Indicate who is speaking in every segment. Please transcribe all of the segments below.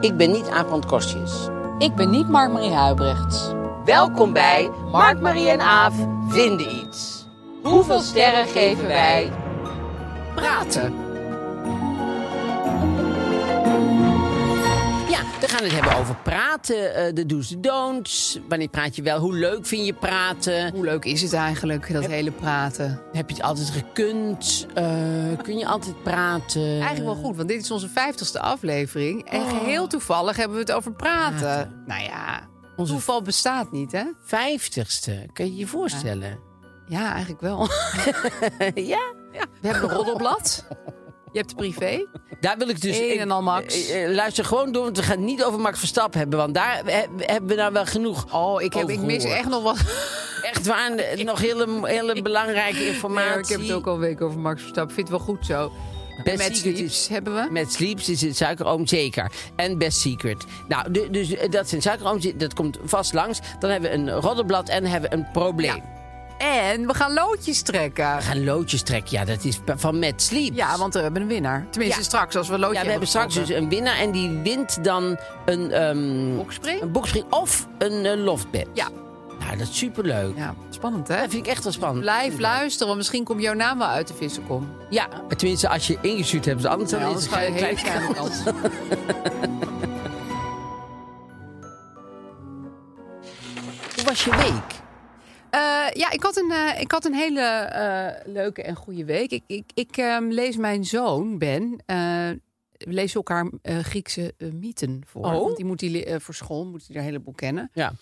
Speaker 1: Ik ben niet Aap van Kostjes.
Speaker 2: Ik ben niet Mark-Marie Huibrechts.
Speaker 1: Welkom bij Mark, Marie en Aaf vinden iets. Hoeveel sterren geven wij? Praten. Ja, we gaan het hebben over praten, eh, de do's, de don'ts. Wanneer praat je wel? Hoe leuk vind je praten?
Speaker 2: Hoe leuk is het eigenlijk, dat hele praten?
Speaker 1: Heb je het altijd gekund? Eh, kun je altijd praten?
Speaker 2: Eigenlijk wel goed, want dit is onze vijftigste aflevering. En geheel toevallig hebben we het over Oh. praten. Nou ja, ons toeval bestaat niet, hè?
Speaker 1: Vijftigste, kun je je voorstellen?
Speaker 2: Ja, eigenlijk wel.
Speaker 1: ja.
Speaker 2: We hebben een roddelblad. Je hebt de privé.
Speaker 1: Daar wil ik dus.
Speaker 2: Een
Speaker 1: ik-
Speaker 2: en al Max.
Speaker 1: eh, eh, luister gewoon door, want we gaan het niet over Max Verstappen hebben. Want daar he- hebben we nou wel genoeg.
Speaker 2: Oh, ik, heb, ik
Speaker 1: over
Speaker 2: mis
Speaker 1: gehoord.
Speaker 2: echt nog wat.
Speaker 1: Echt waar, eh, nog hele, hele belangrijke
Speaker 2: Nee,
Speaker 1: informatie.
Speaker 2: hoor, ik heb het ook al een week over Max Verstappen. Vind het wel goed zo. En met
Speaker 1: Secret
Speaker 2: Sleeps
Speaker 1: is-
Speaker 2: hebben we.
Speaker 1: Met Sleeps is het suikeroom zeker. En Best Secret. Nou, du- dus eh, dat zijn suikerooms. Dat komt vast langs. Dan hebben we een roddelblad en hebben we een probleem.
Speaker 2: En we gaan loodjes trekken.
Speaker 1: We gaan loodjes trekken. Ja, dat is pa- van Met Sleeps.
Speaker 2: Ja, want we hebben een winnaar. Tenminste,
Speaker 1: Ja.
Speaker 2: straks als we een loodje
Speaker 1: Ja, we hebben straks dus een winnaar en die wint dan een,
Speaker 2: dus
Speaker 1: ehm
Speaker 2: Boxspring?
Speaker 1: een boxspring of een eh, loftbed.
Speaker 2: Ja.
Speaker 1: Nou, dat is superleuk.
Speaker 2: Ja, spannend hè?
Speaker 1: Dat vind ik echt wel spannend.
Speaker 2: Blijf luisteren, want misschien komt jouw naam wel uit de vissenkom.
Speaker 1: Ja, tenminste als je ingestuurd hebt, anders
Speaker 2: Nou,
Speaker 1: dan is
Speaker 2: anders
Speaker 1: het
Speaker 2: ga je
Speaker 1: een
Speaker 2: heel
Speaker 1: kleine
Speaker 2: kleine
Speaker 1: kans.
Speaker 2: kans.
Speaker 1: Hoe was je week?
Speaker 2: Eh, ja, ik had een, eh, ik had een hele eh, leuke en goede week. Ik, ik, ik ehm, lees mijn zoon, Ben. eh, we lezen elkaar eh, Griekse eh, mythen voor.
Speaker 1: Oh.
Speaker 2: Want die moet hij le- eh, voor school, moet hij er een heleboel kennen.
Speaker 1: Ja.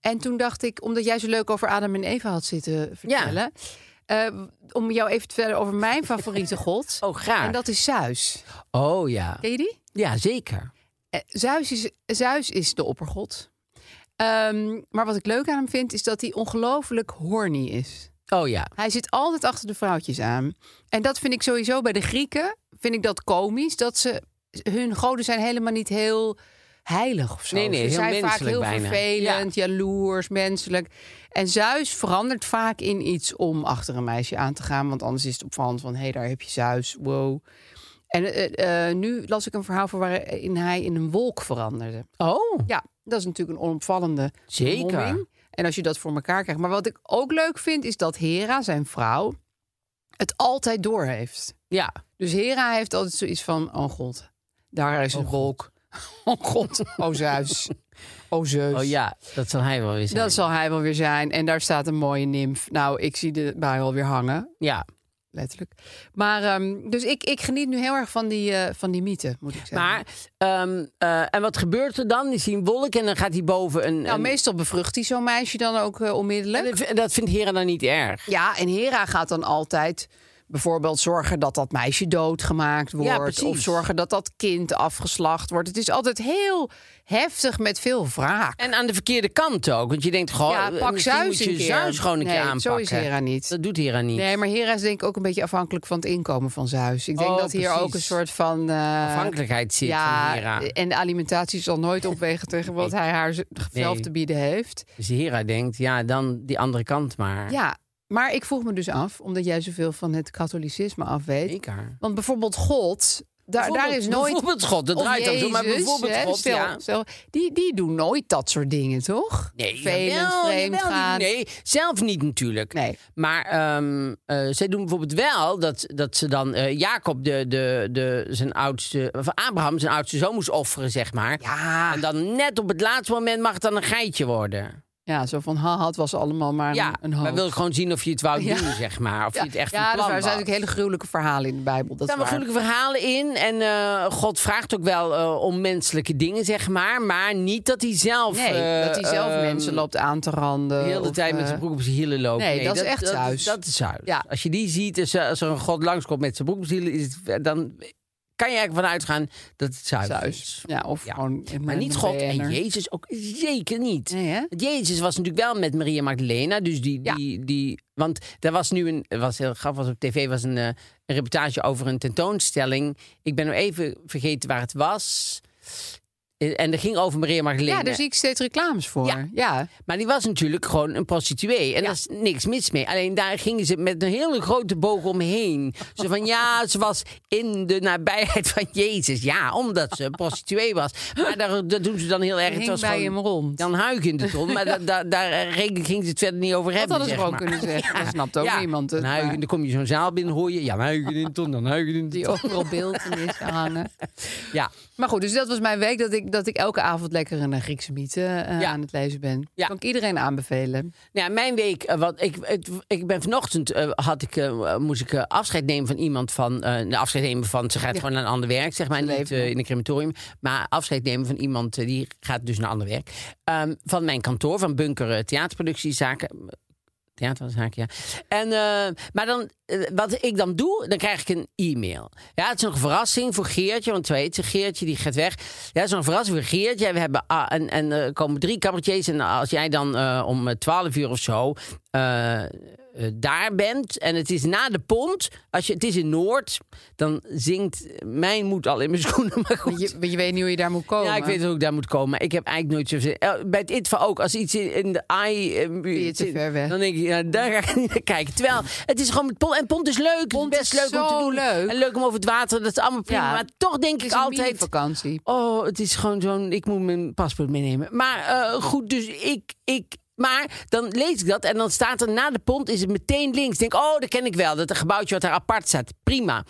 Speaker 2: En toen dacht ik, omdat jij zo leuk over Adam en Eva had zitten vertellen... eh, om jou even te vertellen over mijn favoriete god.
Speaker 1: Oh, graag.
Speaker 2: En dat is Zeus.
Speaker 1: Oh ja.
Speaker 2: Ken je die?
Speaker 1: Ja, zeker.
Speaker 2: Eh, Zeus is, Zeus is de oppergod. Ehm, maar wat ik leuk aan hem vind, is dat hij ongelooflijk horny is.
Speaker 1: Oh ja.
Speaker 2: Hij zit altijd achter de vrouwtjes aan. En dat vind ik sowieso bij de Grieken, vind ik dat komisch. Dat ze, hun goden zijn helemaal niet heel heilig of zo.
Speaker 1: Nee, nee,
Speaker 2: ze
Speaker 1: heel
Speaker 2: zijn vaak
Speaker 1: menselijk
Speaker 2: heel
Speaker 1: bijna.
Speaker 2: vervelend, jaloers, menselijk. En Zeus verandert vaak in iets om achter een meisje aan te gaan. Want anders is het opvallend van, hé, hey, daar heb je Zeus, wow. En eh, eh, nu las ik een verhaal voor waarin hij in een wolk veranderde.
Speaker 1: Oh.
Speaker 2: Ja, dat is natuurlijk een onopvallende
Speaker 1: Zeker.
Speaker 2: vermomming. En als je dat voor elkaar krijgt. Maar wat ik ook leuk vind, is dat Hera, zijn vrouw, het altijd door heeft.
Speaker 1: Ja.
Speaker 2: Dus Hera heeft altijd zoiets van, oh god, daar is een wolk. Oh god, oh Zeus, oh Zeus.
Speaker 1: Oh ja, dat zal hij wel weer zijn.
Speaker 2: Dat zal hij wel weer zijn. En daar staat een mooie nimf. Nou, ik zie de bui alweer hangen,
Speaker 1: Ja.
Speaker 2: letterlijk. Maar, ehm, dus ik, ik geniet nu heel erg van die, eh, van die mythe, moet ik zeggen.
Speaker 1: Maar, ehm, eh, en wat gebeurt er dan? Is hij een wolk en dan gaat hij boven een...
Speaker 2: nou,
Speaker 1: een-
Speaker 2: meestal bevrucht hij zo'n meisje dan ook eh, onmiddellijk.
Speaker 1: en dat vind- dat vindt Hera dan niet erg.
Speaker 2: Ja, en Hera gaat dan altijd bijvoorbeeld zorgen dat dat meisje doodgemaakt wordt.
Speaker 1: precies.
Speaker 2: of zorgen dat dat kind afgeslacht wordt. Het is altijd heel heftig met veel wraak.
Speaker 1: En aan de verkeerde kant ook. Want je denkt, goh,
Speaker 2: ja,
Speaker 1: eh,
Speaker 2: pak
Speaker 1: misschien
Speaker 2: Zeus
Speaker 1: moet
Speaker 2: een
Speaker 1: je
Speaker 2: keer.
Speaker 1: Zeus gewoon een
Speaker 2: nee,
Speaker 1: keer aanpakken.
Speaker 2: zo is Hera niet.
Speaker 1: Dat doet Hera niet.
Speaker 2: Nee, maar Hera is denk ik ook een beetje afhankelijk van het inkomen van Zeus. Ik denk
Speaker 1: Oh,
Speaker 2: dat hier
Speaker 1: precies.
Speaker 2: ook een soort van... eh,
Speaker 1: Afhankelijkheid zit
Speaker 2: ja, eh,
Speaker 1: van Hera.
Speaker 2: en de alimentatie zal nooit opwegen tegen wat hij haar z- zelf
Speaker 1: Nee.
Speaker 2: te bieden heeft.
Speaker 1: Dus Hera denkt, ja, dan die andere kant maar.
Speaker 2: Ja, maar ik vroeg me dus af, omdat jij zoveel van het katholicisme af weet...
Speaker 1: Zeker.
Speaker 2: Want bijvoorbeeld God, daar, daar is nooit...
Speaker 1: Bijvoorbeeld God, dat
Speaker 2: Of
Speaker 1: draait dan zo, maar
Speaker 2: Jezus,
Speaker 1: bijvoorbeeld
Speaker 2: hè,
Speaker 1: God,
Speaker 2: stel,
Speaker 1: ja.
Speaker 2: stel, die, die doen nooit dat soort dingen, toch?
Speaker 1: Nee,
Speaker 2: Velend,
Speaker 1: jawel,
Speaker 2: vreemd
Speaker 1: jawel,
Speaker 2: gaan.
Speaker 1: Nee, zelf niet natuurlijk.
Speaker 2: Nee.
Speaker 1: Maar ehm, eh, zij doen bijvoorbeeld wel dat, dat ze dan eh, Jacob, de, de, de, zijn oudste, of Abraham, zijn oudste zoon moest offeren, zeg maar.
Speaker 2: Ja.
Speaker 1: En dan net op het laatste moment mag het dan een geitje worden.
Speaker 2: Ja, zo van, ha, het was allemaal maar
Speaker 1: ja,
Speaker 2: een, een
Speaker 1: maar wil ik gewoon zien of je het wou
Speaker 2: Ja.
Speaker 1: doen, zeg maar. Of je het echt
Speaker 2: ja,
Speaker 1: van plan
Speaker 2: er zijn
Speaker 1: was.
Speaker 2: natuurlijk hele gruwelijke verhalen in de Bijbel. Dat
Speaker 1: Er
Speaker 2: is
Speaker 1: staan wel
Speaker 2: waar.
Speaker 1: gruwelijke verhalen in. En eh, God vraagt ook wel eh, om menselijke dingen, zeg maar. Maar niet dat hij zelf...
Speaker 2: Nee,
Speaker 1: eh,
Speaker 2: dat hij zelf
Speaker 1: ehm,
Speaker 2: mensen loopt aan te randen.
Speaker 1: De hele
Speaker 2: of,
Speaker 1: tijd met
Speaker 2: eh,
Speaker 1: zijn broek op zijn hielen lopen.
Speaker 2: nee, dat is echt
Speaker 1: Dat,
Speaker 2: Zeus.
Speaker 1: dat is Zeus.
Speaker 2: Ja.
Speaker 1: Als je die ziet, is, eh, als er een god langskomt met zijn broek op zijn hielen... Is het, dan kan je eigenlijk vanuit gaan dat het Zeus,
Speaker 2: Zeus.
Speaker 1: is.
Speaker 2: Ja, of
Speaker 1: Ja.
Speaker 2: gewoon in
Speaker 1: Maar
Speaker 2: mijn
Speaker 1: niet God en
Speaker 2: BN'er.
Speaker 1: Jezus ook zeker niet.
Speaker 2: Nee, hè?
Speaker 1: Want Jezus was natuurlijk wel met Maria Magdalena. Dus die,
Speaker 2: Ja.
Speaker 1: die, die, want er was nu een, het was heel grappig, was op tv was een, eh, een reportage over een tentoonstelling. Ik ben nu even vergeten waar het was. Eh, En dat ging over Maria Magdalena.
Speaker 2: Ja, dus daar zie ik steeds reclames voor.
Speaker 1: Ja.
Speaker 2: Ja.
Speaker 1: Maar die was natuurlijk gewoon een prostituee. En daar is niks mis mee. Alleen daar gingen ze met een hele grote boog omheen. Zo van ja, ze was in de nabijheid van Jezus. Ja, omdat ze een prostituee was. Maar daar, dat doen ze dan heel erg. Het
Speaker 2: Hing
Speaker 1: was
Speaker 2: bij
Speaker 1: gewoon
Speaker 2: hem rond.
Speaker 1: Dan huig in de ton. Maar da- da- daar ging gingen ze het verder niet over hebben.
Speaker 2: hadden ze
Speaker 1: zeg
Speaker 2: gewoon
Speaker 1: maar. Nou,
Speaker 2: kunnen zeggen. Dat snapt ook niemand het,
Speaker 1: Dan, huig-
Speaker 2: maar-
Speaker 1: dan kom je zo'n zaal binnen, hoor je. Ja, huig in de ton, dan huig in de
Speaker 2: Die
Speaker 1: ton.
Speaker 2: overal beeldenis hangen.
Speaker 1: Ja,
Speaker 2: Maar goed, dus dat was mijn week. Dat ik, dat ik elke avond lekker een eh, Griekse mythe eh,
Speaker 1: Ja.
Speaker 2: aan het lezen ben.
Speaker 1: Ja.
Speaker 2: Kan ik iedereen aanbevelen.
Speaker 1: Nou, ja, mijn week, eh, wat ik, het- ik ben vanochtend eh, had ik, eh, moest ik eh, afscheid nemen van iemand van, eh, nou, afscheid nemen van, ze gaat gewoon naar een ander werk, zeg maar, niet
Speaker 2: leeft
Speaker 1: eh,
Speaker 2: nog.
Speaker 1: in een crematorium, maar afscheid nemen van iemand eh, die gaat dus naar een ander werk, Ehm, van mijn kantoor, van Bunker eh, Theaterproductiezaken, theaterzaak, ja. En, eh, maar dan, eh, wat ik dan doe, dan krijg ik een e-mail. Ja, het is een verrassing voor Geertje, want weet ze, Geertje die gaat weg. Ja, het is een verrassing voor Geertje. We hebben, ah, en, en er komen drie cabaretiers. En als jij dan eh, om eh, 12 uur of zo eh, eh, daar bent en het is na de pont, als je, het is in Noord, dan zingt mijn moed al in mijn schoenen. Maar goed.
Speaker 2: Je, maar je weet niet hoe je daar moet komen.
Speaker 1: Ja, ik weet hoe ik daar moet komen. Ik heb eigenlijk nooit zoveel... eh, Bij het ITVA ook. Als iets in in de eye... eh,
Speaker 2: je te
Speaker 1: zit,
Speaker 2: ver weg.
Speaker 1: Dan denk ik, ja, daar ga ik niet naar kijken. Terwijl, het is gewoon... met Pont, en Pont is leuk.
Speaker 2: Pont
Speaker 1: best
Speaker 2: is
Speaker 1: leuk om te
Speaker 2: zo
Speaker 1: doen.
Speaker 2: leuk.
Speaker 1: En leuk om over het water. Dat is allemaal prima.
Speaker 2: Ja.
Speaker 1: Maar toch denk
Speaker 2: Het
Speaker 1: ik
Speaker 2: is altijd
Speaker 1: altijd...
Speaker 2: vakantie.
Speaker 1: Oh, het is gewoon zo'n... Ik moet mijn paspoort meenemen. Maar eh, goed, dus ik... ik maar dan lees ik dat en dan staat er na de pont is het meteen links. Ik denk, oh, dat ken ik wel. Dat een gebouwtje wat daar apart staat. Prima.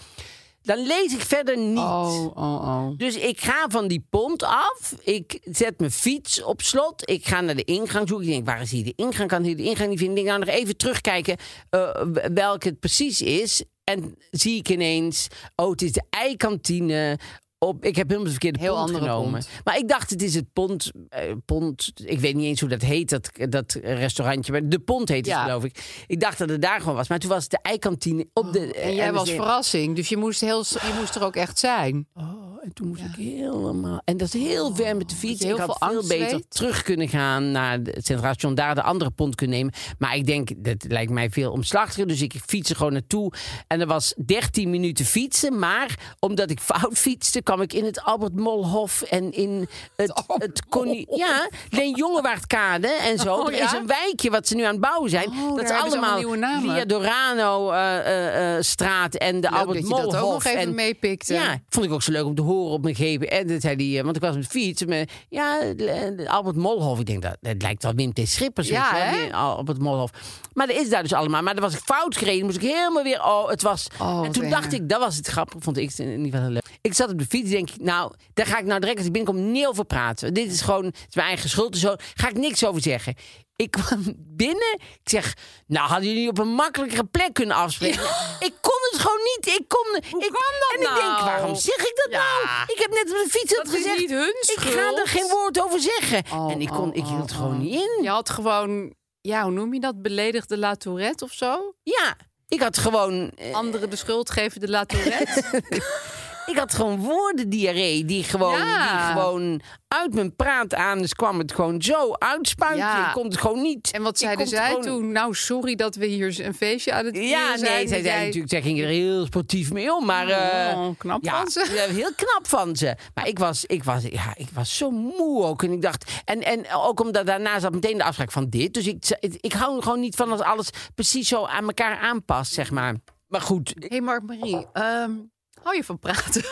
Speaker 1: Dan lees ik verder niet.
Speaker 2: Oh, oh, oh.
Speaker 1: Dus ik ga van die pont af. Ik zet mijn fiets op slot. Ik ga naar de ingang zoeken. Ik denk, waar is hier de ingang? Kan hier de ingang niet vinden? Ik denk, nou nog even terugkijken eh, w- welke het precies is. En zie ik ineens, oh, het is de eikantine. Op, ik heb helemaal de verkeerde
Speaker 2: Heel
Speaker 1: pont
Speaker 2: andere
Speaker 1: genomen.
Speaker 2: pont.
Speaker 1: Maar ik dacht, het is het pont, eh, pont. Ik weet niet eens hoe dat heet, dat, dat restaurantje. Maar de pont heet het,
Speaker 2: Ja.
Speaker 1: geloof ik. Ik dacht dat het daar gewoon was. Maar toen was het de eikantine op de.
Speaker 2: Oh, Eh, En jij was
Speaker 1: vooral.
Speaker 2: verrassing, dus je moest, heel, s- je moest er ook echt zijn.
Speaker 1: Oh, en toen moest ik helemaal. En dat is heel ver met de fiets.
Speaker 2: Oh, je
Speaker 1: ik
Speaker 2: heel
Speaker 1: had
Speaker 2: veel
Speaker 1: veel
Speaker 2: angst
Speaker 1: beter
Speaker 2: weet?
Speaker 1: terug kunnen gaan naar het Centraal Station, daar de andere pont kunnen nemen. Maar ik denk, dat lijkt mij veel omslachtiger. Dus ik fiets er gewoon naartoe. En er was 13 minuten fietsen. Maar omdat ik fout fietste, kwam ik in het Albert Molhof en in het, het Connie. Ja, Leen Jongewaardkade en zo. er is
Speaker 2: Oh, ja? Oh,
Speaker 1: een wijkje wat ze nu aan het bouwen zijn. dat
Speaker 2: hebben
Speaker 1: is
Speaker 2: ze allemaal
Speaker 1: allemaal
Speaker 2: nieuwe namen.
Speaker 1: via Dorano eh, eh, eh, straat en de
Speaker 2: Leuk
Speaker 1: Albert
Speaker 2: dat je dat ook
Speaker 1: Molhof
Speaker 2: nog even eh.
Speaker 1: en-
Speaker 2: meepikte.
Speaker 1: Ja, vond ik ook zo leuk om te horen op mijn GPN. Dat hij die, eh, want ik was op de fiets. Maar, ja, eh, Albert Molhof. Ik denk, dat, dat lijkt wel Wim T. Schippers.
Speaker 2: Ja,
Speaker 1: weet je wel,
Speaker 2: hè?
Speaker 1: die eh, Albert Molhof. Maar dat is daar dus allemaal. Maar daar was ik fout gereden. Moest ik helemaal weer... Oh, het was...
Speaker 2: Oh,
Speaker 1: en
Speaker 2: wat
Speaker 1: toen
Speaker 2: erg.
Speaker 1: dacht ik, dat was het grappig. Vond ik in ieder geval heel leuk. Ik zat op de fiets denk ik, nou, daar ga ik nou direct als ik binnenkom niet over praten. Dit is gewoon, het is mijn eigen schuld en zo. Ga ik niks over zeggen. Ik kwam binnen, ik zeg, nou hadden jullie op een makkelijkere plek kunnen afspreken. Ik kon het gewoon niet. Ik kon, ik,
Speaker 2: kan dat
Speaker 1: en ik denk,
Speaker 2: nou?
Speaker 1: waarom zeg ik dat
Speaker 2: Ja.
Speaker 1: nou? Ik heb net op de fiets dat
Speaker 2: is
Speaker 1: gezegd.
Speaker 2: niet hun
Speaker 1: Ik ga er
Speaker 2: schuld.
Speaker 1: geen woord over zeggen.
Speaker 2: Oh,
Speaker 1: en ik, kon,
Speaker 2: oh,
Speaker 1: ik hield
Speaker 2: oh,
Speaker 1: het gewoon
Speaker 2: oh.
Speaker 1: niet in.
Speaker 2: Je had gewoon, ja, hoe noem je dat? Beledigde La Tourette of zo?
Speaker 1: Ja, ik had gewoon, eh,
Speaker 2: Anderen de schuld geven de La Tourette?
Speaker 1: ik had gewoon woordendiarree die gewoon,
Speaker 2: Ja.
Speaker 1: die gewoon uit mijn praat aan dus kwam het gewoon zo uitspuiten.
Speaker 2: Ja.
Speaker 1: Ik kon het gewoon niet.
Speaker 2: En wat
Speaker 1: Ik
Speaker 2: zeiden
Speaker 1: kon het
Speaker 2: zij
Speaker 1: gewoon-
Speaker 2: toen? Nou, sorry dat we hier een feestje aan het
Speaker 1: Ja,
Speaker 2: vieren zijn.
Speaker 1: nee, zij
Speaker 2: Dat
Speaker 1: zei
Speaker 2: jij-
Speaker 1: natuurlijk, zij ging er heel sportief mee om, maar eh,
Speaker 2: Oh, knap
Speaker 1: ja,
Speaker 2: van ze.
Speaker 1: ja, heel knap van ze. Maar ik was, ik was, ja, ik was zo moe ook. En ik dacht, en, en ook omdat daarna zat meteen de afspraak van dit. Dus ik, ik hou er gewoon niet van als alles precies zo aan elkaar aanpast, zeg maar. Maar goed,
Speaker 2: Hé, hey Mark-Marie, ehm, hou je van praten?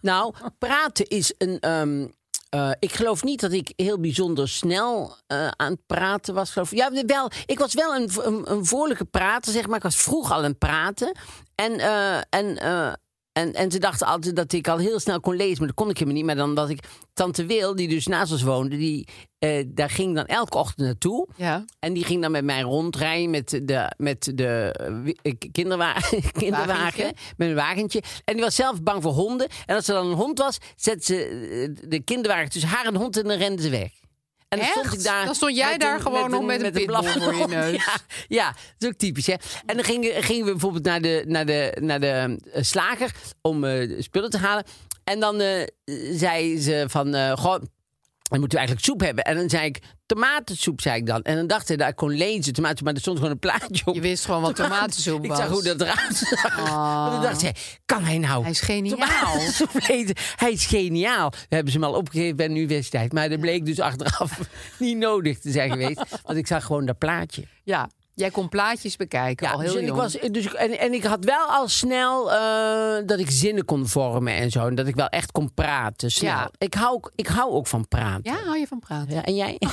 Speaker 1: nou, praten is een. ehm, eh, ik geloof niet dat ik heel bijzonder snel eh, aan het praten was. Geloof. ik. Ja, wel, ik was wel een, een, een voorlijke prater, zeg maar. Ik was vroeg al een praten. En, eh, en, eh, en, en ze dachten altijd dat ik al heel snel kon lezen. Maar dat kon ik helemaal niet. Maar dan was ik tante Wil, die dus naast ons woonde, die, eh, daar ging ik dan elke ochtend naartoe.
Speaker 2: Ja.
Speaker 1: En die ging dan met mij rondrijden met de, met de eh, wi- eh, kinderwa kinderwagen.
Speaker 2: Wagentje.
Speaker 1: Met een wagentje. En die was zelf bang voor honden. En als er dan een hond was, zette ze eh, de kinderwagen tussen haar en de hond en dan renden ze weg. En dan stond
Speaker 2: Echt?
Speaker 1: ik daar.
Speaker 2: Dan stond jij daar gewoon nog met een pitbull
Speaker 1: blaffende
Speaker 2: voor je
Speaker 1: hond.
Speaker 2: neus.
Speaker 1: Ja, ja, dat is ook typisch, hè? En dan gingen, gingen we bijvoorbeeld naar de, naar de, naar de eh, slager om eh, spullen te halen. En dan eh, zei ze van, eh, goh, dan moeten we eigenlijk soep hebben. En dan zei ik, tomatensoep, zei ik dan. En dan dacht hij dat ik kon lezen, tomaten, maar er stond gewoon een plaatje op.
Speaker 2: Je wist gewoon wat tomatensoep
Speaker 1: Ik
Speaker 2: was. Ah.
Speaker 1: zag hoe dat eruit zag. En toen dacht ze, kan hij nou?
Speaker 2: Hij is geniaal.
Speaker 1: tomatensoep eten? Hij is geniaal. We hebben ze hem al opgegeven bij de universiteit. Maar dat bleek dus achteraf niet nodig te zijn geweest. Want ik zag gewoon dat plaatje.
Speaker 2: Ja, jij kon plaatjes bekijken al heel
Speaker 1: dus en
Speaker 2: jong.
Speaker 1: Ik was, dus ik- en, en ik had wel al snel eh, dat ik zinnen kon vormen en zo. En dat ik wel echt kon praten. Snel.
Speaker 2: Ja.
Speaker 1: Ik, hou, ook- ik hou ook van praten.
Speaker 2: Ja, hou je van praten?
Speaker 1: Ja, en jij?
Speaker 2: Ik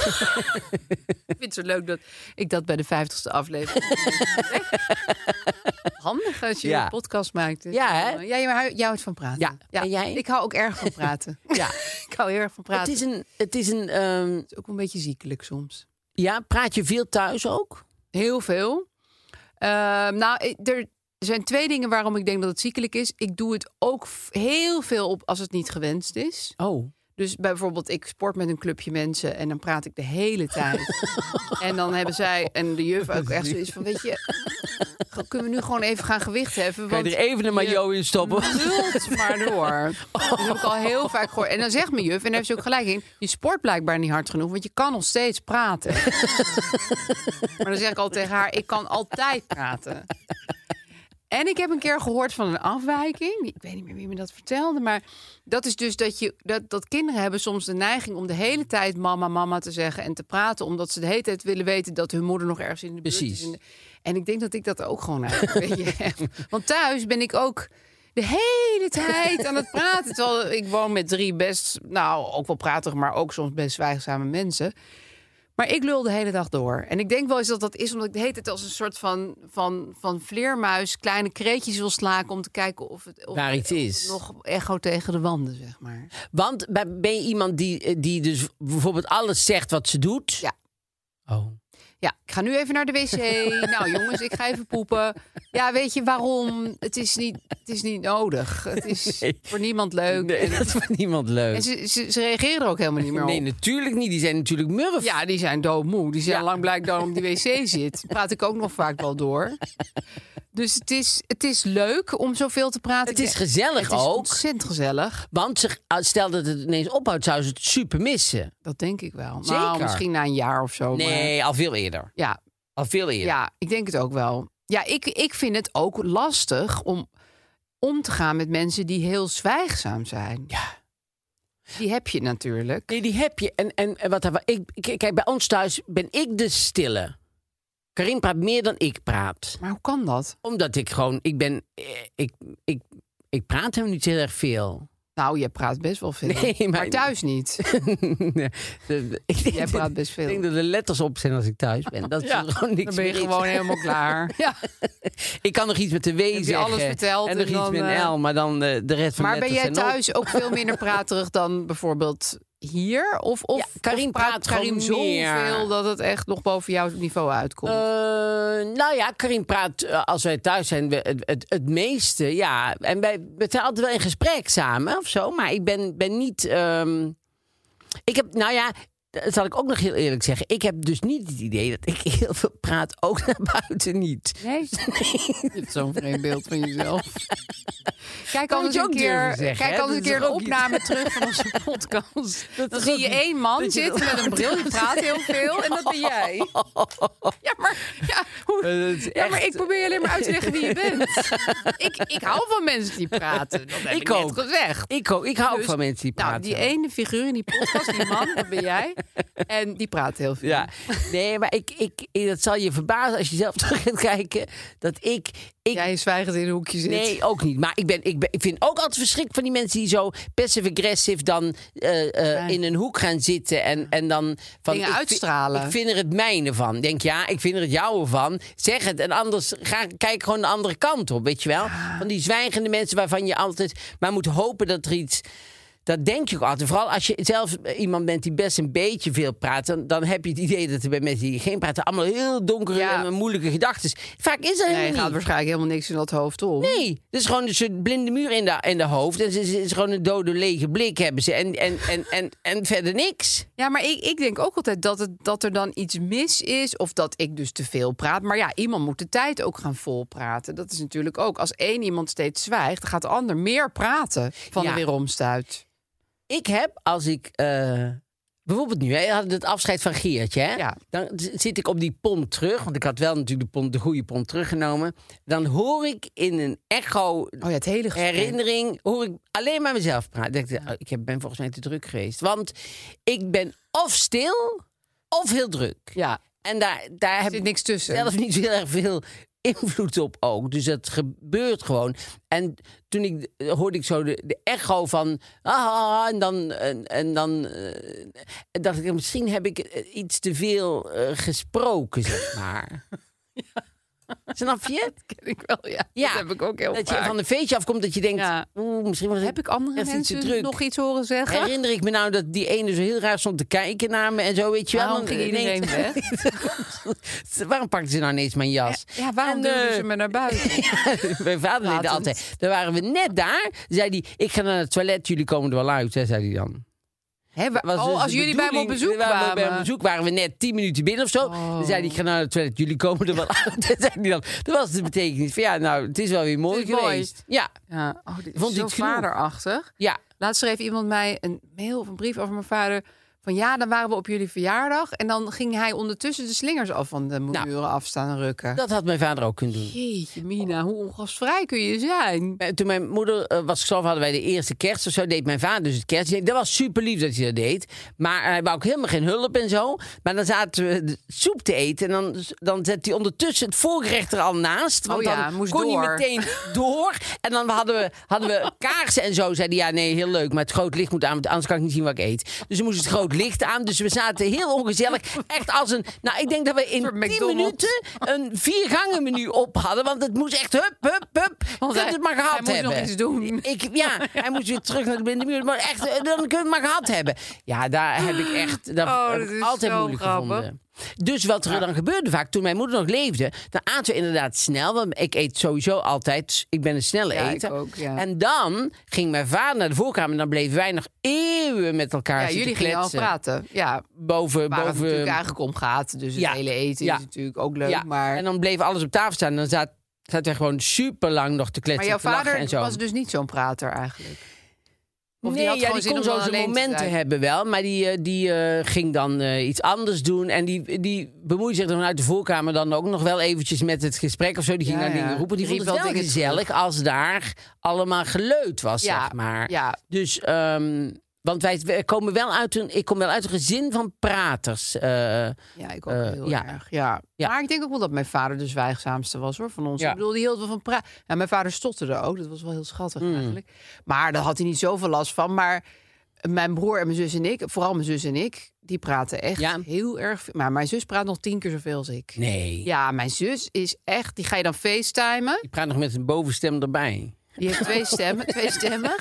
Speaker 2: vind het zo leuk dat ik dat bij de vijftigste aflevering Handig als je
Speaker 1: Ja.
Speaker 2: een podcast maakt. Dus
Speaker 1: Ja, hè?
Speaker 2: dan, eh, Ja, maar hou- jij houdt van praten.
Speaker 1: Ja. En jij?
Speaker 2: Ik hou ook erg van praten.
Speaker 1: Ja.
Speaker 2: ik hou heel erg van praten.
Speaker 1: Het is een. Het is een ehm,
Speaker 2: Het is ook een beetje ziekelijk soms.
Speaker 1: ja, praat je veel thuis ook?
Speaker 2: Heel veel. Ehm, nou, ik- er zijn twee dingen waarom ik denk dat het ziekelijk is. Ik doe het ook f- heel veel op als het niet gewenst is.
Speaker 1: Oh.
Speaker 2: Dus bijvoorbeeld, ik sport met een clubje mensen en dan praat ik de hele tijd. en dan hebben zij en de juf ook echt zoiets van: Weet je, kunnen we nu gewoon even gaan gewicht heffen?
Speaker 1: Kan je er even een majo in stoppen?
Speaker 2: Lult maar door. Dat heb ik al heel vaak gehoord. En dan zegt mijn juf, en daar heeft ze ook gelijk in... je sport blijkbaar niet hard genoeg, want je kan nog steeds praten. maar dan zeg ik al tegen haar, ik kan altijd praten. En ik heb een keer gehoord van een afwijking. Ik weet niet meer wie me dat vertelde. Maar dat is dus dat, je, dat, dat kinderen hebben soms de neiging om de hele tijd mama, mama te zeggen en te praten. Omdat ze de hele tijd willen weten dat hun moeder nog ergens in de buurt
Speaker 1: Precies.
Speaker 2: is. En, en ik denk dat ik dat ook gewoon heb. weet je. Want thuis ben ik ook de hele tijd aan het praten. Terwijl ik woon met drie best, nou ook wel pratig, maar ook soms best zwijgzame mensen. Maar ik lul de hele dag door. En ik denk wel eens dat dat is omdat ik de hele tijd als een soort van, van, van vleermuis kleine kreetjes wil slaken om te kijken of het, of,
Speaker 1: Waar iets
Speaker 2: of het
Speaker 1: is.
Speaker 2: nog echo tegen de wanden, zeg maar.
Speaker 1: Want bij- ben je iemand die, die dus bijvoorbeeld alles zegt wat ze doet?
Speaker 2: Ja.
Speaker 1: Oh.
Speaker 2: Ja, ik ga nu even naar de wc. nou jongens, ik ga even poepen. Ja, weet je waarom? Het is niet, het is niet nodig. Het is
Speaker 1: Nee.
Speaker 2: voor niemand leuk.
Speaker 1: Nee,
Speaker 2: En-
Speaker 1: dat vindt niemand leuk.
Speaker 2: En ze, ze, ze reageren er ook helemaal niet meer op.
Speaker 1: Nee, natuurlijk niet. Die zijn natuurlijk murf.
Speaker 2: Ja, die zijn doodmoe. Die zijn
Speaker 1: Ja.
Speaker 2: lang blijkbaar om die wc zit. Praat ik ook nog vaak wel door. Dus het is, het is leuk om zoveel te praten.
Speaker 1: Het is
Speaker 2: Ik-
Speaker 1: gezellig
Speaker 2: het is
Speaker 1: ook.
Speaker 2: ontzettend gezellig.
Speaker 1: Want ze, als- stel dat het ineens ophoudt, zou ze het super missen.
Speaker 2: Dat denk ik wel. Nou,
Speaker 1: Zeker.
Speaker 2: misschien na een jaar of zo. Maar
Speaker 1: Nee, al veel eerder.
Speaker 2: ja,
Speaker 1: Al veel eerder.
Speaker 2: ja, ik denk het ook wel. Ja, ik, ik vind het ook lastig om om te gaan met mensen die heel zwijgzaam zijn.
Speaker 1: Ja.
Speaker 2: Die heb je natuurlijk.
Speaker 1: Nee, die heb je. En, en, en wat, daar- ik, ik- kijk, bij ons thuis ben ik de stille. Karin praat meer dan ik praat.
Speaker 2: Maar hoe kan dat?
Speaker 1: Omdat ik gewoon, ik ben, eh, ik, ik, ik praat hem niet heel erg veel.
Speaker 2: Nou, je praat best wel veel.
Speaker 1: Nee, maar-
Speaker 2: thuis niet.
Speaker 1: Nee, de- ik denk
Speaker 2: Jij
Speaker 1: dat-
Speaker 2: praat best veel.
Speaker 1: Ik denk dat de letters op zijn als ik thuis ben. Dat is
Speaker 2: Ja,
Speaker 1: gewoon niks
Speaker 2: Dan ben je
Speaker 1: meer is.
Speaker 2: gewoon helemaal klaar. Ja.
Speaker 1: Ik kan nog iets met de W
Speaker 2: je
Speaker 1: zeggen.
Speaker 2: alles verteld
Speaker 1: En nog
Speaker 2: en
Speaker 1: iets
Speaker 2: dan,
Speaker 1: met
Speaker 2: eh,
Speaker 1: een L, maar dan eh, de rest van
Speaker 2: Maar ben
Speaker 1: letters
Speaker 2: jij
Speaker 1: zijn ook-
Speaker 2: thuis ook veel minder praterig dan bijvoorbeeld hier? Of, of,
Speaker 1: Ja, Karin
Speaker 2: of
Speaker 1: praat
Speaker 2: Karin
Speaker 1: gewoon meer.
Speaker 2: zoveel dat het echt nog boven jouw niveau uitkomt?
Speaker 1: Eh, nou ja, Karin praat eh, als wij thuis zijn we- het, het, het meeste, ja. En wij, we zijn altijd wel in gesprek samen of zo. Maar ik ben, ben niet... ehm, ik heb, nou ja, dat zal ik ook nog heel eerlijk zeggen. Ik heb dus niet het idee dat ik heel veel praat, ook naar buiten niet.
Speaker 2: nee. Je hebt zo'n vreemd beeld van jezelf. Kijk
Speaker 1: Kan
Speaker 2: anders
Speaker 1: je
Speaker 2: een
Speaker 1: ook durven
Speaker 2: keer,
Speaker 1: zeggen, hè?
Speaker 2: kijk
Speaker 1: Dat
Speaker 2: anders een
Speaker 1: is
Speaker 2: keer
Speaker 1: toch
Speaker 2: de
Speaker 1: ook iets?
Speaker 2: opname terug van onze podcast. dan
Speaker 1: is
Speaker 2: zie
Speaker 1: ook
Speaker 2: je
Speaker 1: iets.
Speaker 2: één man
Speaker 1: Dat je
Speaker 2: zitten
Speaker 1: dat-
Speaker 2: met een bril, die praat heel veel en dat ben jij. Ja, maar, ja, hoe,
Speaker 1: Dat is
Speaker 2: ja, maar
Speaker 1: echt-
Speaker 2: ik probeer je alleen maar uit te leggen wie je bent. ik, ik hou van mensen die praten. Dat heb ik,
Speaker 1: Ik
Speaker 2: net
Speaker 1: ook.
Speaker 2: gezegd.
Speaker 1: Ik, ook- ik hou
Speaker 2: Dus,
Speaker 1: ook van mensen die praten.
Speaker 2: Nou, die ene figuur in die podcast, die man, dat ben jij. En die praat heel veel.
Speaker 1: Ja, nee, maar ik, ik, ik- dat zal je verbazen als je zelf terug gaat kijken. Dat ik, ik
Speaker 2: Jij zwijgend in een hoekje zit.
Speaker 1: Nee, ook niet. Maar ik, ben, ik, ben, ik vind ook altijd verschrikkelijk van die mensen die zo passive-aggressive dan eh, eh, in een hoek gaan zitten. En, en dan van,
Speaker 2: Dingen
Speaker 1: ik vi-
Speaker 2: uitstralen.
Speaker 1: Ik vind er het mijne van. Denk ja, ik vind er het jouwe van. Zeg het. En anders ga, kijk gewoon de andere kant op. Weet je wel? Van die zwijgende mensen waarvan je altijd maar moet hopen dat er iets Dat denk je ook altijd. Vooral als je zelf iemand bent die best een beetje veel praat, dan, dan heb je het idee dat er bij mensen die geen praten allemaal heel donkere
Speaker 2: Ja.
Speaker 1: en moeilijke gedachten. Vaak is er
Speaker 2: Nee,
Speaker 1: helemaal
Speaker 2: gaat
Speaker 1: niet.
Speaker 2: waarschijnlijk helemaal niks in dat hoofd om.
Speaker 1: Nee, het is gewoon een soort blinde muur in de, in de hoofd. En ze, ze is gewoon een dode lege blik hebben ze. En, en, en, en, en verder niks.
Speaker 2: Ja, maar ik, ik denk ook altijd dat, het, dat er dan iets mis is. Of dat ik dus te veel praat. Maar ja, iemand moet de tijd ook gaan volpraten. Dat is natuurlijk ook. Als één iemand steeds zwijgt, dan gaat de ander meer praten van
Speaker 1: Ja.
Speaker 2: de weeromstuit.
Speaker 1: Ik heb, als ik... eh, bijvoorbeeld nu, hè, we hadden het afscheid van Geertje. Hè?
Speaker 2: Ja.
Speaker 1: Dan z- zit ik op die pont terug. Want ik had wel natuurlijk de, pont, de goede pont teruggenomen. Dan hoor ik in een echo...
Speaker 2: Oh ja, het hele gesprek.
Speaker 1: Herinnering, hoor ik alleen maar mezelf praten. Ik, dacht, oh, ik heb- ben volgens mij te druk geweest. Want ik ben of stil, of heel druk.
Speaker 2: Ja,
Speaker 1: En daar, daar
Speaker 2: er
Speaker 1: heb
Speaker 2: zit
Speaker 1: ik
Speaker 2: niks tussen.
Speaker 1: zelf niet zo heel erg veel invloed op ook. Dus dat gebeurt gewoon. En toen ik, hoorde ik zo de, de echo van... Ah, ah, ah, en dan... En, en dan eh, dacht ik, misschien heb ik eh, iets te veel eh, gesproken, zeg maar. Snap je?
Speaker 2: ken ik wel, ja.
Speaker 1: Ja,
Speaker 2: Dat heb ik ook heel
Speaker 1: Dat je
Speaker 2: vaak.
Speaker 1: van een feestje afkomt dat je denkt...
Speaker 2: Ja.
Speaker 1: Oeh, misschien was
Speaker 2: Heb ik andere
Speaker 1: echt iets te
Speaker 2: mensen
Speaker 1: druk.
Speaker 2: nog iets horen zeggen?
Speaker 1: Herinner ik me nou dat die ene zo heel raar stond te kijken naar me en zo, weet je wel.
Speaker 2: Waarom
Speaker 1: Dan
Speaker 2: ging iedereen
Speaker 1: ineens-
Speaker 2: weg?
Speaker 1: waarom pakte ze nou ineens mijn jas?
Speaker 2: Ja, waarom
Speaker 1: En,
Speaker 2: duwden
Speaker 1: eh,
Speaker 2: ze me naar buiten?
Speaker 1: Mijn vader deed dat
Speaker 2: Latend.
Speaker 1: altijd. Dan waren we net daar. Zei hij, ik ga naar het toilet, jullie komen er wel uit, hè, zei hij dan.
Speaker 2: Hè, wa-
Speaker 1: Was
Speaker 2: oh,
Speaker 1: dus de
Speaker 2: als jullie bij me op
Speaker 1: bedoeling-
Speaker 2: bezoek
Speaker 1: waren we
Speaker 2: kwamen. Oh.
Speaker 1: Bij hem op bezoek waren we net tien minuten binnen of zo. Dan zei hij, ik ga naar het toilet, jullie komen er wel uit. hè, zei hij dan. Dat was de betekenis van, ja, nou, het is wel weer mooi
Speaker 2: Het is mooi.
Speaker 1: geweest. Ja,
Speaker 2: Ja, oh, dit is
Speaker 1: Vond
Speaker 2: zo
Speaker 1: dit genoeg?
Speaker 2: vaderachtig.
Speaker 1: ja.
Speaker 2: Laatst schreef iemand mij een mail of een brief over mijn vader. Van ja, dan waren we op jullie verjaardag. En dan ging hij ondertussen de slingers al van de muren afstaan rukken.
Speaker 1: Dat had mijn vader ook kunnen doen.
Speaker 2: Nou. Jeetje, Mina, hoe ongastvrij kun je zijn?
Speaker 1: Eh, Toen mijn moeder eh, was gestorven, hadden wij de eerste kerst of zo. Deed mijn vader dus het kerst. Dat was super lief dat hij dat deed. Maar eh, hij wou ook helemaal geen hulp en zo. Maar dan zaten we de soep te eten. En dan, dan zet hij ondertussen het voorgerecht er al naast. Want
Speaker 2: Oh ja,
Speaker 1: dan
Speaker 2: moest
Speaker 1: kon hij
Speaker 2: door.
Speaker 1: meteen door. En dan hadden we, hadden we kaarsen en zo. Zei hij, ja nee, heel leuk. Maar het groot licht moet aan, want anders kan ik niet zien wat ik eet. Dus we moesten het groot licht aan. Dus we zaten heel ongezellig. Echt als een... Nou, ik denk dat we in
Speaker 2: Een soort
Speaker 1: 10
Speaker 2: McDonald's.
Speaker 1: minuten een viergangen menu op hadden. Want het moest echt hup, hup, hup.
Speaker 2: Want
Speaker 1: Kunt
Speaker 2: hij-
Speaker 1: het maar gehad
Speaker 2: hij moest nog
Speaker 1: hebben.
Speaker 2: iets doen.
Speaker 1: Ik, ja, hij moest weer terug naar de blinde muur. Maar echt, eh, dan kun je het maar gehad hebben. Ja, daar heb ik echt dat
Speaker 2: Oh,
Speaker 1: heb
Speaker 2: dat
Speaker 1: ik
Speaker 2: is
Speaker 1: altijd
Speaker 2: zo
Speaker 1: moeilijk
Speaker 2: grappig.
Speaker 1: gevonden. Dus wat er dan gebeurde vaak, toen mijn moeder nog leefde... dan aten we inderdaad snel, want ik eet sowieso altijd... ik ben een snelle
Speaker 2: Ja, ik
Speaker 1: eter.
Speaker 2: ook, ja.
Speaker 1: En dan ging mijn vader naar de voorkamer... en dan bleven wij nog eeuwen met elkaar
Speaker 2: Ja,
Speaker 1: zitten
Speaker 2: jullie gingen al
Speaker 1: kletsen.
Speaker 2: praten. Ja,
Speaker 1: Boven,
Speaker 2: waar het
Speaker 1: boven
Speaker 2: natuurlijk eigenlijk om gaat. Dus het
Speaker 1: Ja,
Speaker 2: hele eten
Speaker 1: ja.
Speaker 2: is natuurlijk ook leuk.
Speaker 1: ja,
Speaker 2: maar,
Speaker 1: En dan bleef alles op tafel staan. En dan zat, zat hij gewoon super lang nog te kletsen.
Speaker 2: maar jouw
Speaker 1: te lachen
Speaker 2: vader
Speaker 1: en zo.
Speaker 2: was dus niet zo'n prater eigenlijk. of die
Speaker 1: nee,
Speaker 2: had
Speaker 1: ja,
Speaker 2: gewoon
Speaker 1: die kon
Speaker 2: zin om
Speaker 1: zo
Speaker 2: dan
Speaker 1: zijn
Speaker 2: alleen te
Speaker 1: momenten
Speaker 2: zijn.
Speaker 1: hebben wel. Maar die, eh, die eh, ging dan eh, iets anders doen. En die, die bemoeide zich dan vanuit de voorkamer dan ook nog wel eventjes met het gesprek of zo. Die ging
Speaker 2: Ja,
Speaker 1: naar
Speaker 2: ja.
Speaker 1: dingen roepen. Die
Speaker 2: Die
Speaker 1: vond het
Speaker 2: riep
Speaker 1: wel
Speaker 2: wel dingen
Speaker 1: gezellig als daar allemaal geleut was,
Speaker 2: Ja,
Speaker 1: zeg maar.
Speaker 2: ja.
Speaker 1: Dus... ehm, want wij wij komen wel uit een, ik kom wel uit een gezin van praters. eh,
Speaker 2: Ja, ik ook
Speaker 1: Eh,
Speaker 2: heel
Speaker 1: ja.
Speaker 2: erg. Ja.
Speaker 1: Ja.
Speaker 2: Maar ik denk ook wel dat mijn vader de zwijgzaamste was hoor, van ons.
Speaker 1: Ja.
Speaker 2: Ik bedoel, die hield wel van praten. Ja, mijn vader stotterde ook, dat was wel heel schattig
Speaker 1: Mm.
Speaker 2: eigenlijk. Maar daar had hij niet zoveel last van. Maar mijn broer en mijn zus en ik, vooral mijn zus en ik, die praten echt
Speaker 1: Ja.
Speaker 2: heel erg veel. Maar mijn zus praat nog tien keer zoveel als ik.
Speaker 1: nee,
Speaker 2: Ja, mijn zus is echt, die ga je dan facetimen.
Speaker 1: ik praat nog met een bovenstem erbij.
Speaker 2: Die heeft twee stemmen, twee stemmen.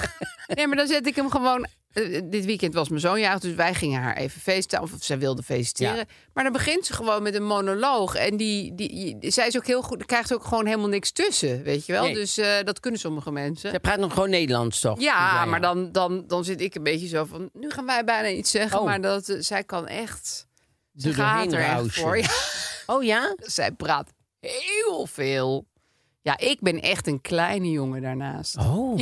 Speaker 2: Nee, maar dan zet ik hem gewoon. eh, dit weekend was mijn zoon jarig, dus wij gingen haar even feesten. Of zij wilde feliciteren.
Speaker 1: Ja.
Speaker 2: Maar dan begint ze gewoon met een monoloog. En die, die, die- zij is ook heel goed, krijgt ook gewoon helemaal niks tussen, weet je wel.
Speaker 1: Nee.
Speaker 2: Dus eh, dat kunnen sommige mensen.
Speaker 1: Zij praat nog gewoon Nederlands, toch?
Speaker 2: Ja,
Speaker 1: Zei
Speaker 2: maar
Speaker 1: hij.
Speaker 2: dan, dan, dan zit ik een beetje zo van. Nu gaan wij bijna iets zeggen,
Speaker 1: Oh.
Speaker 2: maar dat, eh, zij kan echt. Ze
Speaker 1: Er
Speaker 2: gaat
Speaker 1: doorheen
Speaker 2: er echt
Speaker 1: rausen.
Speaker 2: voor. Ja,
Speaker 1: Oh ja?
Speaker 2: zij praat heel veel. Ja, ik ben echt een kleine jongen daarnaast.
Speaker 1: Oh.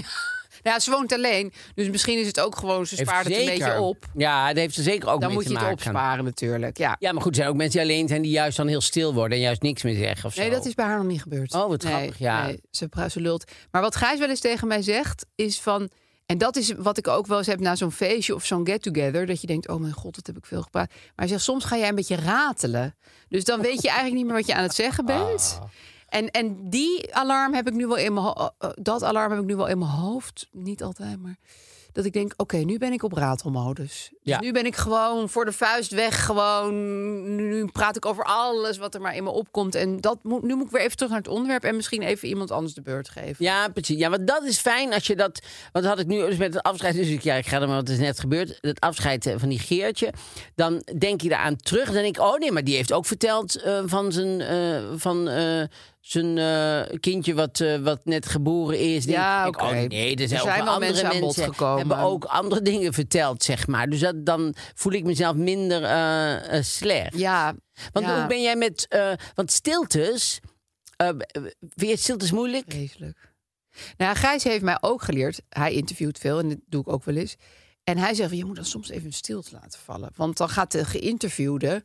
Speaker 2: Nou ja, ze woont alleen. Dus misschien is het ook gewoon, ze
Speaker 1: Heeft
Speaker 2: spaart het een
Speaker 1: zeker-
Speaker 2: beetje op.
Speaker 1: Ja, dat heeft ze zeker ook
Speaker 2: Dan
Speaker 1: mee
Speaker 2: moet
Speaker 1: te
Speaker 2: je het
Speaker 1: maken.
Speaker 2: opsparen natuurlijk. Ja.
Speaker 1: Ja, maar goed, er zijn ook mensen die alleen zijn die juist dan heel stil worden en juist niks meer zeggen of zo.
Speaker 2: Nee, dat is bij haar nog niet gebeurd.
Speaker 1: Oh, wat
Speaker 2: Nee,
Speaker 1: grappig, ja.
Speaker 2: nee, ze, pra- ze lult. Maar wat Gijs wel eens tegen mij zegt, is van... En dat is wat ik ook wel eens heb na zo'n feestje of zo'n get-together. Dat je denkt, oh mijn god, dat heb ik veel gepraat.
Speaker 1: Oh.
Speaker 2: Maar hij zegt, soms ga jij een beetje ratelen. Dus dan weet je eigenlijk niet meer wat je aan het zeggen bent. En, en die alarm heb ik nu wel in mijn ho- eh, dat alarm heb ik nu wel in mijn hoofd. Niet altijd, maar dat ik denk, oké, nu ben ik op ratelmodus. Dus
Speaker 1: Ja.
Speaker 2: nu ben ik gewoon voor de vuist weg. Gewoon nu, nu praat ik over alles wat er maar in me opkomt. En dat moet, nu moet ik weer even terug naar het onderwerp en misschien even iemand anders de beurt geven.
Speaker 1: Ja, precies. Ja, want dat is fijn als je dat. Want had ik nu dus met het afscheid. Dus ik, ja, ik ga er maar wat is net gebeurd. Het afscheid eh, van die Geertje. Dan denk je daaraan terug. Dan denk ik, oh nee, maar die heeft ook verteld eh, van zijn. eh, van, eh, zijn eh, kindje wat, eh, wat net geboren is. Denk
Speaker 2: Ja,
Speaker 1: ik,
Speaker 2: oké.
Speaker 1: oh nee, er
Speaker 2: Er
Speaker 1: zijn, ook
Speaker 2: zijn
Speaker 1: wel
Speaker 2: wel
Speaker 1: andere
Speaker 2: mensen aan bod gekomen.
Speaker 1: hebben ook andere dingen verteld, zeg maar. Dus dat, dan voel ik mezelf minder eh, eh, slecht.
Speaker 2: Ja,
Speaker 1: Want
Speaker 2: ja.
Speaker 1: hoe ben jij met... eh, want stiltes... eh vind je stiltes moeilijk?
Speaker 2: Vreselijk. Nou, ja, Gijs heeft mij ook geleerd. Hij interviewt veel en dat doe ik ook wel eens. En hij zegt: je moet dan soms even een stilte laten vallen, want dan gaat de geïnterviewde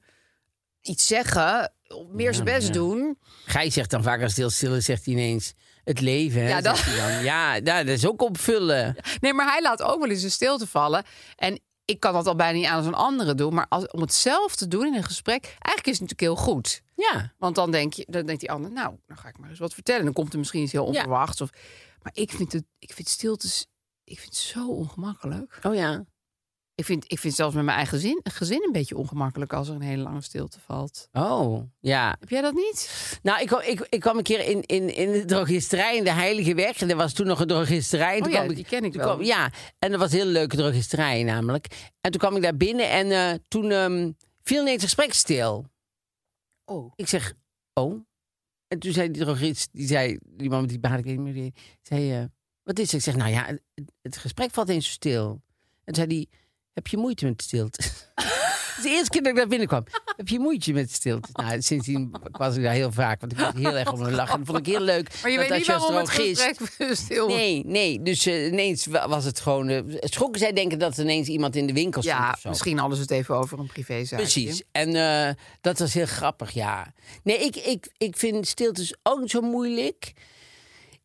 Speaker 2: iets zeggen, meer zijn best doen.
Speaker 1: Gij zegt dan vaak als het heel stil is, zegt hij ineens het leven. Hè,
Speaker 2: Ja,
Speaker 1: zegt
Speaker 2: dat-
Speaker 1: hij dan. ja, nou, dat is ook opvullen.
Speaker 2: Nee, maar hij laat ook wel eens een stilte vallen. En ik kan dat al bijna niet aan zo'n andere doen, maar als, om het zelf te doen in een gesprek, eigenlijk is het natuurlijk heel goed.
Speaker 1: Ja.
Speaker 2: Want dan, denk je, dan denkt die ander, nou, dan ga ik maar eens wat vertellen. Dan komt er misschien iets heel
Speaker 1: Ja.
Speaker 2: onverwachts. Of, maar ik vind, het, ik vind stiltes ik vind het zo ongemakkelijk.
Speaker 1: Oh ja.
Speaker 2: Ik vind, ik vind het zelfs met mijn eigen gezin, gezin een beetje ongemakkelijk als er een hele lange stilte valt.
Speaker 1: Oh, ja.
Speaker 2: Heb jij dat niet?
Speaker 1: Nou, ik, kwam- ik, ik kwam een keer in, in, in de drogisterij in de Heilige Weg. En er was toen nog een drogisterij. En
Speaker 2: Oh
Speaker 1: toen
Speaker 2: ja,
Speaker 1: kwam
Speaker 2: die ken ik
Speaker 1: toen
Speaker 2: wel.
Speaker 1: kwam- ja, en dat was een hele leuke drogisterij namelijk. En toen kwam ik daar binnen en eh, toen ehm, viel ineens het gesprek stil.
Speaker 2: Oh.
Speaker 1: Ik zeg, oh. En toen zei die drogist, die zei, die man met die baard, ik weet niet meer, wie, zei, eh, wat is het? Ik zeg, nou ja, het, het gesprek valt eens zo stil. En toen zei die, heb je moeite met stilte? dat is de eerste keer dat ik daar binnenkwam. Heb je moeite met stilte? Nou, sindsdien was ik daar heel vaak, want ik moest heel erg om me lachen. En dat vond ik heel leuk.
Speaker 2: Maar je
Speaker 1: dat
Speaker 2: weet niet
Speaker 1: als als
Speaker 2: waarom het
Speaker 1: drogist-
Speaker 2: gesprek stil
Speaker 1: Nee, nee. Dus eh, ineens wa- was het gewoon... eh, schrokken zij denken dat ineens iemand in de winkel stond
Speaker 2: Ja,
Speaker 1: of zo.
Speaker 2: misschien hadden ze het even over een privézaak.
Speaker 1: Precies. En eh, dat was heel grappig, ja. Nee, ik, ik, ik vind stiltes ook niet zo moeilijk.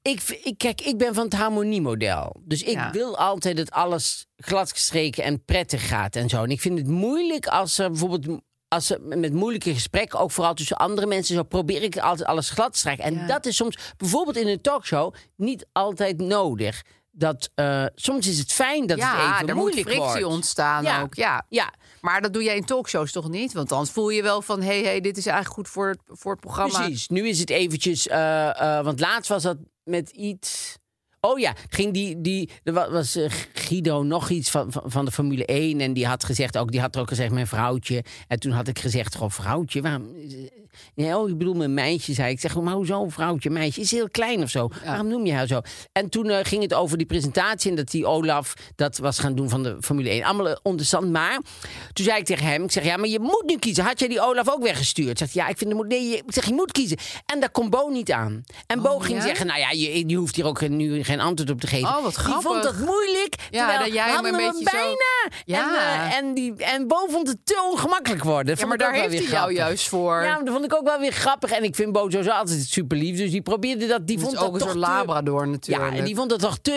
Speaker 1: Ik, v- ik, kijk, ik ben van het harmoniemodel. Dus ik
Speaker 2: Ja.
Speaker 1: wil altijd dat alles gladgestreken en prettig gaat en zo. En ik vind het moeilijk als er bijvoorbeeld... Als er met moeilijke gesprekken, ook vooral tussen andere mensen, zo probeer ik altijd alles glad te strijken. En
Speaker 2: Ja.
Speaker 1: dat is soms, bijvoorbeeld in een talkshow, niet altijd nodig. Dat, eh, soms is het fijn dat het
Speaker 2: Ja,
Speaker 1: even
Speaker 2: er moet
Speaker 1: moeilijk
Speaker 2: frictie
Speaker 1: wordt.
Speaker 2: ontstaan
Speaker 1: Ja.
Speaker 2: ook. Ja.
Speaker 1: Ja,
Speaker 2: Maar dat doe jij in talkshows toch niet? Want dan voel je wel van, hé, hey, hey, dit is eigenlijk goed voor het, voor het programma.
Speaker 1: Precies, nu is het eventjes... eh, eh, want laatst was dat met iets... Oh ja, ging die, die, er wa- was eh, Guido nog iets van, van, van de Formule 1. En die had gezegd ook, die had er ook gezegd mijn vrouwtje. En toen had ik gezegd, goh, vrouwtje, waarom... Nee, oh, ik bedoel mijn meisje, zei ik. Ik zeg, maar hoezo vrouwtje, meisje? Is heel klein of zo. Waarom noem je haar zo? En toen eh, ging het over die presentatie en dat die Olaf dat was gaan doen van de Formule 1. Allemaal eh, interessant, maar toen zei ik tegen hem, ik zeg, ja, maar je moet nu kiezen. Had jij die Olaf ook weggestuurd? Zegt hij, ja, ik vind, er moet, nee, je, ik zeg, je moet kiezen. En daar kon Bo niet aan. En Bo ging
Speaker 2: Oh, ja?
Speaker 1: zeggen, nou ja, je, je hoeft hier ook geen- nu geen antwoord op te geven.
Speaker 2: Oh, wat
Speaker 1: Die vond
Speaker 2: grappig.
Speaker 1: dat moeilijk,
Speaker 2: Ja,
Speaker 1: terwijl
Speaker 2: dat jij hem
Speaker 1: hadden
Speaker 2: een
Speaker 1: we
Speaker 2: beetje zo-
Speaker 1: bijna. En,
Speaker 2: Ja.
Speaker 1: eh, en, die, en Bo vond het te ongemakkelijk worden.
Speaker 2: Ja,
Speaker 1: Vond
Speaker 2: maar
Speaker 1: ik ook
Speaker 2: daar
Speaker 1: wel
Speaker 2: heeft hij
Speaker 1: weer
Speaker 2: jou
Speaker 1: grappig.
Speaker 2: juist voor.
Speaker 1: Ja, maar dat vond ik ook wel weer grappig. En ik vind Bo sowieso altijd super lief. Dus die probeerde dat. Die
Speaker 2: Het
Speaker 1: vond
Speaker 2: is ook een
Speaker 1: dat
Speaker 2: soort
Speaker 1: toch te-
Speaker 2: labrador natuurlijk.
Speaker 1: Ja, en die vond het toch te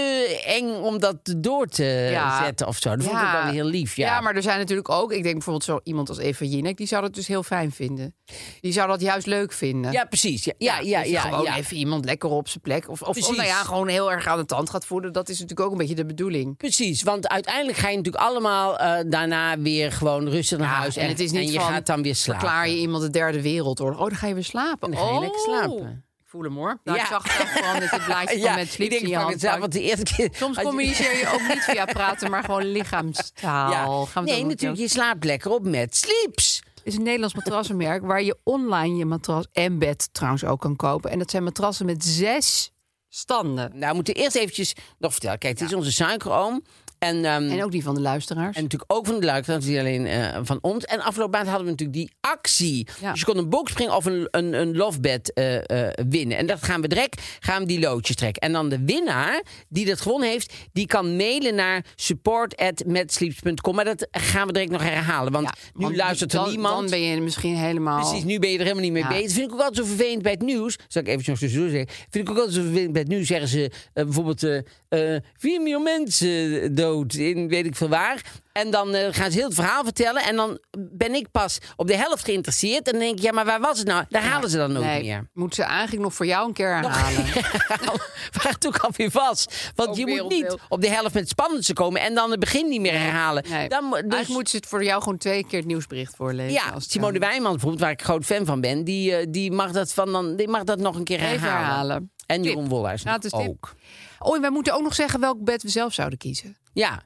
Speaker 1: eng om dat door te
Speaker 2: Ja.
Speaker 1: zetten of zo. Dat vond ik ook wel weer heel lief. Ja,
Speaker 2: maar er zijn natuurlijk ook, ik denk bijvoorbeeld zo iemand als Eva Jinek, die zou dat dus heel fijn vinden. Die zou dat juist leuk vinden.
Speaker 1: ja precies. Ja, ja, ja.
Speaker 2: dus
Speaker 1: ja,
Speaker 2: gewoon
Speaker 1: ja.
Speaker 2: even iemand lekker op zijn plek. Of, of, of nou
Speaker 1: Precies.
Speaker 2: ja, gewoon heel erg aan de tand gaat voelen. Dat is natuurlijk ook een beetje de bedoeling.
Speaker 1: Precies, want uiteindelijk ga je natuurlijk allemaal eh, daarna weer gewoon rustig naar
Speaker 2: Ja,
Speaker 1: huis.
Speaker 2: en het is niet
Speaker 1: je
Speaker 2: van,
Speaker 1: gaat dan weer slapen.
Speaker 2: Verklaar je iemand de derde wereldoorlog? Oh, dan ga je weer slapen.
Speaker 1: Dan ga je
Speaker 2: oh.
Speaker 1: lekker slapen.
Speaker 2: Ik voel hem hoor. Nou,
Speaker 1: Ja.
Speaker 2: Ik zag het al gewoon met het blaadje van met
Speaker 1: ik
Speaker 2: slips in
Speaker 1: denk
Speaker 2: je
Speaker 1: van
Speaker 2: hand.
Speaker 1: hetzelfde, want de eerste keer...
Speaker 2: Soms
Speaker 1: als je-
Speaker 2: communiceer je ook niet via praten, maar gewoon lichaamstaal.
Speaker 1: Ja.
Speaker 2: Gaan we het ook
Speaker 1: Nee,
Speaker 2: niet
Speaker 1: natuurlijk, je slaapt lekker op met sleeps.
Speaker 2: is een Nederlands matrassenmerk waar je online je matras en bed trouwens ook kan kopen. En dat zijn matrassen met zes standen.
Speaker 1: Nou, we moeten eerst eventjes nog vertellen. Kijk, dit is onze suikeroom. En, ehm,
Speaker 2: En ook die van de luisteraars.
Speaker 1: En natuurlijk ook van de luikruimte, niet alleen eh, van ons. En afgelopen maand hadden we natuurlijk die actie.
Speaker 2: Ja.
Speaker 1: Dus je kon een boxspring of een, een, een lovebed eh, eh, winnen. En dat gaan we direct, gaan we die loodjes trekken. En dan de winnaar die dat gewonnen heeft, die kan mailen naar support.metsleeps.com. Maar dat gaan we direct nog herhalen, want
Speaker 2: Ja,
Speaker 1: nu
Speaker 2: want
Speaker 1: luistert er
Speaker 2: dan,
Speaker 1: niemand.
Speaker 2: Dan ben je misschien helemaal...
Speaker 1: Precies, nu ben je er helemaal niet mee
Speaker 2: Ja.
Speaker 1: bezig. Vind ik ook altijd zo vervelend bij het nieuws. Zal ik even nog tussendoor zeggen. Vind ik ook altijd zo vervelend bij het nieuws. Zeggen ze eh, bijvoorbeeld... eh eh, 4 miljoen mensen eh, dood dood in weet ik veel waar. En dan eh, gaan ze heel het verhaal vertellen. En dan ben ik pas op de helft geïnteresseerd. En dan denk ik, ja, maar waar was het nou? Daar halen ze dan nooit
Speaker 2: nee,
Speaker 1: meer. nou,
Speaker 2: Moet ze eigenlijk nog voor jou een keer herhalen.
Speaker 1: Waar het ook alweer was. Want
Speaker 2: Ook
Speaker 1: je
Speaker 2: weer
Speaker 1: moet niet
Speaker 2: opnieuw.
Speaker 1: op de helft met het spannendste komen en dan het begin niet meer herhalen.
Speaker 2: Nee.
Speaker 1: Dan, mo- dus,
Speaker 2: Eigenlijk moet ze het voor jou gewoon twee keer het nieuwsbericht voorlezen.
Speaker 1: ja,
Speaker 2: als het
Speaker 1: Simone
Speaker 2: kan.
Speaker 1: Wijmans bijvoorbeeld, waar ik groot fan van ben, die, eh, die, mag, dat van dan, die mag dat nog een keer
Speaker 2: Even
Speaker 1: herhalen.
Speaker 2: herhalen.
Speaker 1: En
Speaker 2: Tip.
Speaker 1: Jeroen Wollaars
Speaker 2: Gratis tip.
Speaker 1: ook.
Speaker 2: Oh, en wij moeten ook nog zeggen welk bed we zelf zouden kiezen.
Speaker 1: Ja,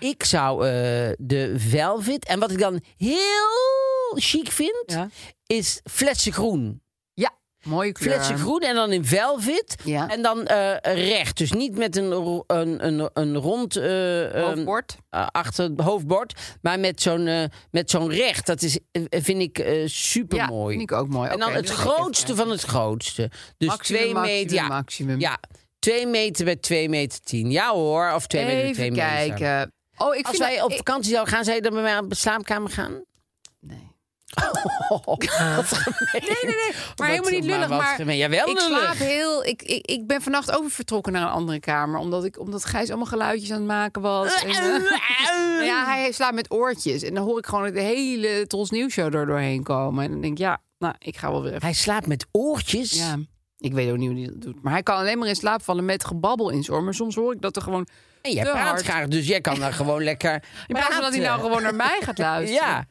Speaker 1: ik zou eh, de Velvet. En wat ik dan heel chic vind,
Speaker 2: Ja.
Speaker 1: is fletsen groen.
Speaker 2: Ja, mooie kleur.
Speaker 1: Fletsen groen en dan in velvet.
Speaker 2: Ja.
Speaker 1: En dan eh, recht. Dus niet met een, ro- een, een, een rond eh, eh,
Speaker 2: Hoofdbord.
Speaker 1: eh, achter het hoofdbord. Maar met zo'n eh, met zo'n recht. Dat is, eh, vind ik super
Speaker 2: Ja,
Speaker 1: mooi.
Speaker 2: vind ik ook mooi.
Speaker 1: en dan
Speaker 2: Oké,
Speaker 1: het
Speaker 2: dus ik heb-
Speaker 1: grootste van het grootste. Dus
Speaker 2: Maximum,
Speaker 1: twee
Speaker 2: maximum,
Speaker 1: meter. Ja,
Speaker 2: maximum.
Speaker 1: ja, twee meter bij twee meter tien. Ja hoor. Of twee meter bij twee
Speaker 2: Even
Speaker 1: meter.
Speaker 2: kijken. Oh, ik
Speaker 1: Als
Speaker 2: vind
Speaker 1: wij
Speaker 2: dat-
Speaker 1: op vakantie zouden gaan, zou je dan bij mij op de slaapkamer gaan? Oh,
Speaker 2: Nee.
Speaker 1: nee,
Speaker 2: nee, nee. Maar helemaal niet lullig.
Speaker 1: wat
Speaker 2: Maar,
Speaker 1: gemeen. Jawel,
Speaker 2: ik
Speaker 1: lullig.
Speaker 2: slaap heel. Ik, ik, ik ben vannacht over vertrokken naar een andere kamer. Omdat, ik, omdat Gijs allemaal geluidjes aan het maken was. En, eh, nou ja, hij slaapt met oortjes. En dan hoor ik gewoon de hele Tros Nieuwsshow er doorheen komen. En dan denk ik, ja, nou, ik ga wel weer even.
Speaker 1: Hij slaapt met oortjes.
Speaker 2: Ja, ik weet ook niet hoe hij dat doet. Maar hij kan alleen maar in slaap vallen met gebabbel in zijn oor. Maar soms hoor ik dat er gewoon.
Speaker 1: En jij
Speaker 2: te
Speaker 1: praat
Speaker 2: hard.
Speaker 1: graag, dus jij kan dan gewoon lekker
Speaker 2: In plaats van dat hij nou
Speaker 1: praten.
Speaker 2: gewoon naar mij gaat luisteren.
Speaker 1: Ja.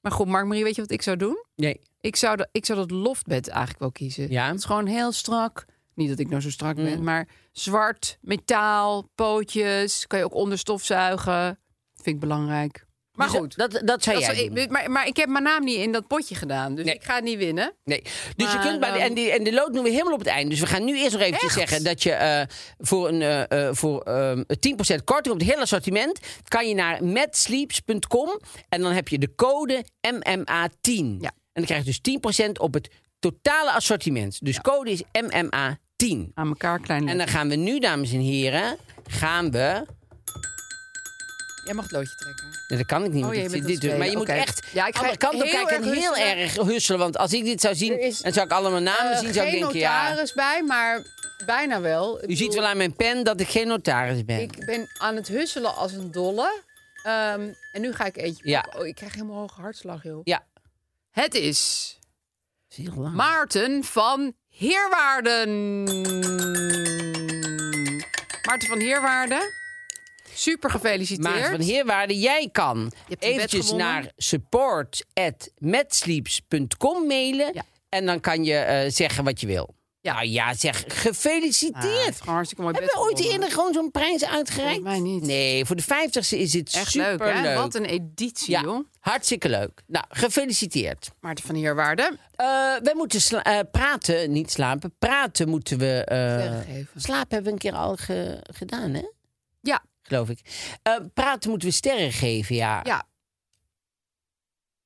Speaker 2: Maar goed, Mark-Marie, weet je wat ik zou doen?
Speaker 1: Nee.
Speaker 2: Ik zou, dat, ik zou dat loftbed eigenlijk wel kiezen.
Speaker 1: Ja.
Speaker 2: Het is gewoon heel strak. Niet dat ik nou zo strak
Speaker 1: Mm.
Speaker 2: ben, maar zwart, metaal, pootjes. Kan je ook onder stofzuigen. Vind ik belangrijk. Maar
Speaker 1: Dus
Speaker 2: goed.
Speaker 1: Dat, dat, zou
Speaker 2: dat
Speaker 1: jij
Speaker 2: zou
Speaker 1: doen.
Speaker 2: ik, maar, maar ik heb mijn naam niet in dat potje gedaan. Dus
Speaker 1: Nee.
Speaker 2: ik ga het niet winnen.
Speaker 1: Nee. Dus je
Speaker 2: Maar,
Speaker 1: kunt bij de,
Speaker 2: ehm,
Speaker 1: en, die, en de lood doen we helemaal op het eind. Dus we gaan nu eerst nog eventjes
Speaker 2: Echt?
Speaker 1: zeggen dat je eh, voor, een, eh, eh, voor ehm, 10% korting op het hele assortiment kan je naar matsleeps.com en dan heb je de code MMA10.
Speaker 2: Ja.
Speaker 1: En dan krijg je dus 10% op het totale assortiment. Dus code is MMA10.
Speaker 2: Aan elkaar klein
Speaker 1: En dan
Speaker 2: letters.
Speaker 1: gaan we nu, dames en heren, gaan we.
Speaker 2: eh, Jij mag het loodje trekken.
Speaker 1: Nee, dat kan ik niet.
Speaker 2: Oh,
Speaker 1: want
Speaker 2: jij
Speaker 1: dit-
Speaker 2: bent
Speaker 1: dit
Speaker 2: aan
Speaker 1: doet-
Speaker 2: het
Speaker 1: maar je moet
Speaker 2: spelen.
Speaker 1: echt.
Speaker 2: Oké. Ja, ik ga
Speaker 1: andere kant op
Speaker 2: heel
Speaker 1: kijken en
Speaker 2: erg
Speaker 1: heel
Speaker 2: husselen.
Speaker 1: erg husselen. Want als ik dit zou zien,
Speaker 2: Er is-
Speaker 1: dan zou ik allemaal namen
Speaker 2: Eh,
Speaker 1: Ah, zien. Zou ik
Speaker 2: geen
Speaker 1: denken, ja.
Speaker 2: notaris bij, maar bijna wel. Ik
Speaker 1: U ziet
Speaker 2: bedoel-
Speaker 1: wel aan mijn pen dat ik geen notaris ben.
Speaker 2: Ik ben aan het husselen als een dolle. Ehm, en nu ga ik eentje
Speaker 1: Ja.
Speaker 2: pakken. Oh, ik krijg helemaal hoge hartslag, joh.
Speaker 1: Ja.
Speaker 2: Het is
Speaker 1: Dat is heel lang.
Speaker 2: Maarten van Heerwaarden. Maarten van Heerwaarden. Super gefeliciteerd.
Speaker 1: Maar van Heerwaarde, jij kan
Speaker 2: hebt je bed
Speaker 1: eventjes
Speaker 2: gewonnen.
Speaker 1: naar support.metsleeps.com mailen.
Speaker 2: Ja.
Speaker 1: En dan kan je eh, zeggen wat je wil. Ja,
Speaker 2: Ja.
Speaker 1: nou, ja zeg,
Speaker 2: Ah, hij heeft
Speaker 1: gefeliciteerd.
Speaker 2: gewoon hartstikke mooi
Speaker 1: Hebben we
Speaker 2: bed
Speaker 1: ooit
Speaker 2: gewonnen.
Speaker 1: eerder gewoon zo'n prijs uitgereikt?
Speaker 2: Volgens mij niet.
Speaker 1: Nee, voor de vijftigste is dit
Speaker 2: Echt leuk,
Speaker 1: superleuk.
Speaker 2: hè? Wat een editie,
Speaker 1: ja,
Speaker 2: joh.
Speaker 1: hartstikke leuk. Nou, gefeliciteerd.
Speaker 2: Maarten van Heerwaarden.
Speaker 1: Eh, wij moeten sla- eh, praten, niet slapen. Praten moeten we... eh,
Speaker 2: Sterren geven.
Speaker 1: slapen hebben we een keer al ge- gedaan, hè?
Speaker 2: Ja,
Speaker 1: Geloof ik. Eh, praten moeten we sterren geven, ja.
Speaker 2: ja.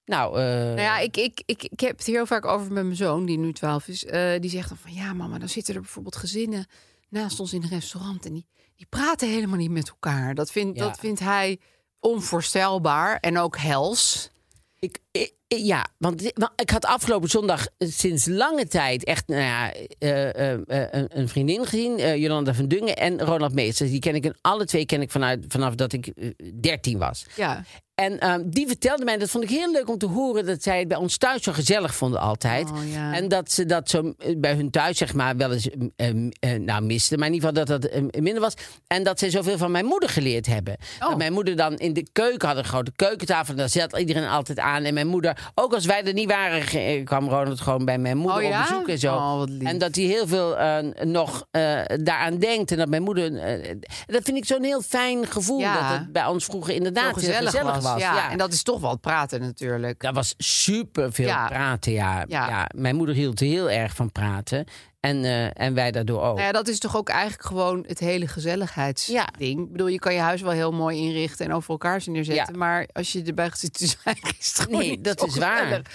Speaker 1: Nou, eh,
Speaker 2: Nou ja, ik, ik, ik, ik heb het hier heel vaak over met mijn zoon, die nu 12 is. Eh, die zegt dan van ja, mama, dan zitten er bijvoorbeeld gezinnen naast ons in een restaurant. En die, die praten helemaal niet met elkaar. Dat, vindt
Speaker 1: Ja.
Speaker 2: dat vindt hij onvoorstelbaar en ook hels.
Speaker 1: Ik, ik- ik- ja, want di- want ik had afgelopen zondag eh, sinds lange tijd echt nou ja, eh, eh, eh, een, een vriendin gezien. eh, Jolanda van Dungen en Ronald Meesters. Die ken ik en alle twee ken ik vanuit, vanaf dat ik eh, 13 was.
Speaker 2: Ja,
Speaker 1: En ehm, die vertelde mij, dat vond ik heel leuk om te horen, dat zij het bij ons thuis zo gezellig vonden altijd.
Speaker 2: Oh, ja.
Speaker 1: En dat ze dat zo eh, bij hun thuis, zeg maar, wel eens ehm, eh, nou, misten. Maar in ieder geval dat dat eh, minder was. En dat zij zoveel van mijn moeder geleerd hebben.
Speaker 2: Oh.
Speaker 1: Dat mijn moeder dan in de keuken had een grote keukentafel. En daar zat iedereen altijd aan. En mijn moeder, ook als wij er niet waren, ge- eh, kwam Ronald gewoon bij mijn moeder
Speaker 2: Oh, ja?
Speaker 1: op bezoek en zo.
Speaker 2: Oh, wat lief.
Speaker 1: en dat hij heel veel eh, nog eh, daaraan denkt. En dat mijn moeder. eh, dat vind ik zo'n heel fijn gevoel. Dat
Speaker 2: Ja.
Speaker 1: het bij ons vroeger
Speaker 2: Zo
Speaker 1: inderdaad heel gezellig was.
Speaker 2: Ja.
Speaker 1: Ja.
Speaker 2: en dat is toch wel het praten natuurlijk.
Speaker 1: Daar was super veel
Speaker 2: Ja.
Speaker 1: praten, ja. ja.
Speaker 2: Ja.
Speaker 1: Mijn moeder hield heel erg van praten. En, eh, en wij daardoor ook.
Speaker 2: Nou ja, dat is toch ook eigenlijk gewoon het hele gezelligheidsding. Ik bedoel, je kan je huis wel heel mooi inrichten en over elkaar ze neerzetten.
Speaker 1: Ja.
Speaker 2: Maar als je erbij zit te zijn, is het gewoon
Speaker 1: Nee,
Speaker 2: niet
Speaker 1: dat
Speaker 2: zo
Speaker 1: is waar.
Speaker 2: gezellig.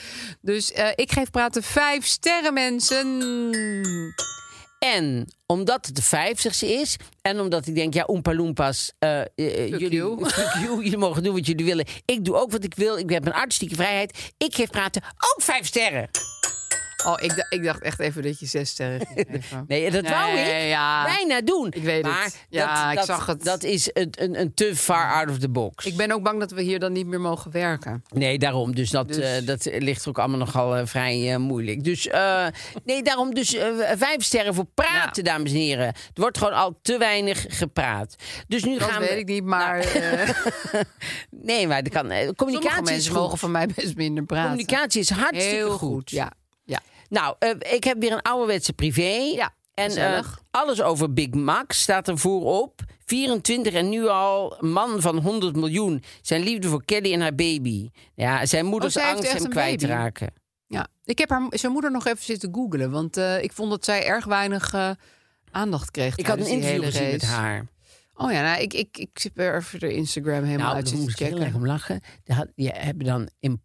Speaker 2: Dus eh, ik geef praten vijf sterren, mensen.
Speaker 1: En omdat het de vijftigste is... en omdat ik denk, ja, Oompa Loompas... eh, eh, jullie,
Speaker 2: you.
Speaker 1: fuck you, jullie mogen doen wat jullie willen. Ik doe ook wat ik wil. Ik heb mijn artistieke vrijheid. Ik geef praten ook vijf sterren.
Speaker 2: Oh, ik, da- ik dacht echt even dat je zes sterren ging geven.
Speaker 1: Nee, dat wou ik
Speaker 2: ja.
Speaker 1: bijna doen.
Speaker 2: Ik weet het.
Speaker 1: maar dat-
Speaker 2: Ja, ik
Speaker 1: dat,
Speaker 2: zag het.
Speaker 1: Dat is een, een, een te far out of the box.
Speaker 2: Ik ben ook bang dat we hier dan niet meer mogen werken.
Speaker 1: Nee, daarom. Dus dat,
Speaker 2: Dus-
Speaker 1: eh, dat ligt ook allemaal nogal eh, vrij eh, moeilijk. Dus eh, nee, daarom dus eh, vijf sterren voor praten, dames en heren. Er wordt gewoon al te weinig gepraat. Dus nu
Speaker 2: Dat
Speaker 1: gaan
Speaker 2: weet
Speaker 1: we... Nou,
Speaker 2: ik niet, maar eh,
Speaker 1: Nee, maar dat kan, eh,
Speaker 2: sommige
Speaker 1: communicatie is
Speaker 2: mensen
Speaker 1: goed.
Speaker 2: mogen van mij best minder praten.
Speaker 1: Communicatie is hartstikke
Speaker 2: Heel
Speaker 1: goed.
Speaker 2: goed, ja. ja.
Speaker 1: Nou, eh, ik heb weer een ouderwetse privé.
Speaker 2: Ja,
Speaker 1: En
Speaker 2: gezellig.
Speaker 1: eh, alles over Big Mac staat er voorop. 24 en nu al man van 100 miljoen. Zijn liefde voor Kelly en haar baby. Ja, zijn moeders
Speaker 2: Oh, zij heeft
Speaker 1: angst
Speaker 2: echt
Speaker 1: hem
Speaker 2: een baby?
Speaker 1: kwijtraken.
Speaker 2: Ja, ik heb haar, zijn moeder nog even zitten googelen. Want eh, ik vond dat zij erg weinig eh, aandacht kreeg.
Speaker 1: Ik had een
Speaker 2: tijdens die
Speaker 1: interview
Speaker 2: hele
Speaker 1: gezien met
Speaker 2: race.
Speaker 1: haar.
Speaker 2: Oh ja, nou, ik, ik, ik zit weer even de Instagram helemaal
Speaker 1: Nou,
Speaker 2: uit
Speaker 1: daar
Speaker 2: te
Speaker 1: moest ik heel erg
Speaker 2: checken.
Speaker 1: om lachen. Daar had- Die hebben dan in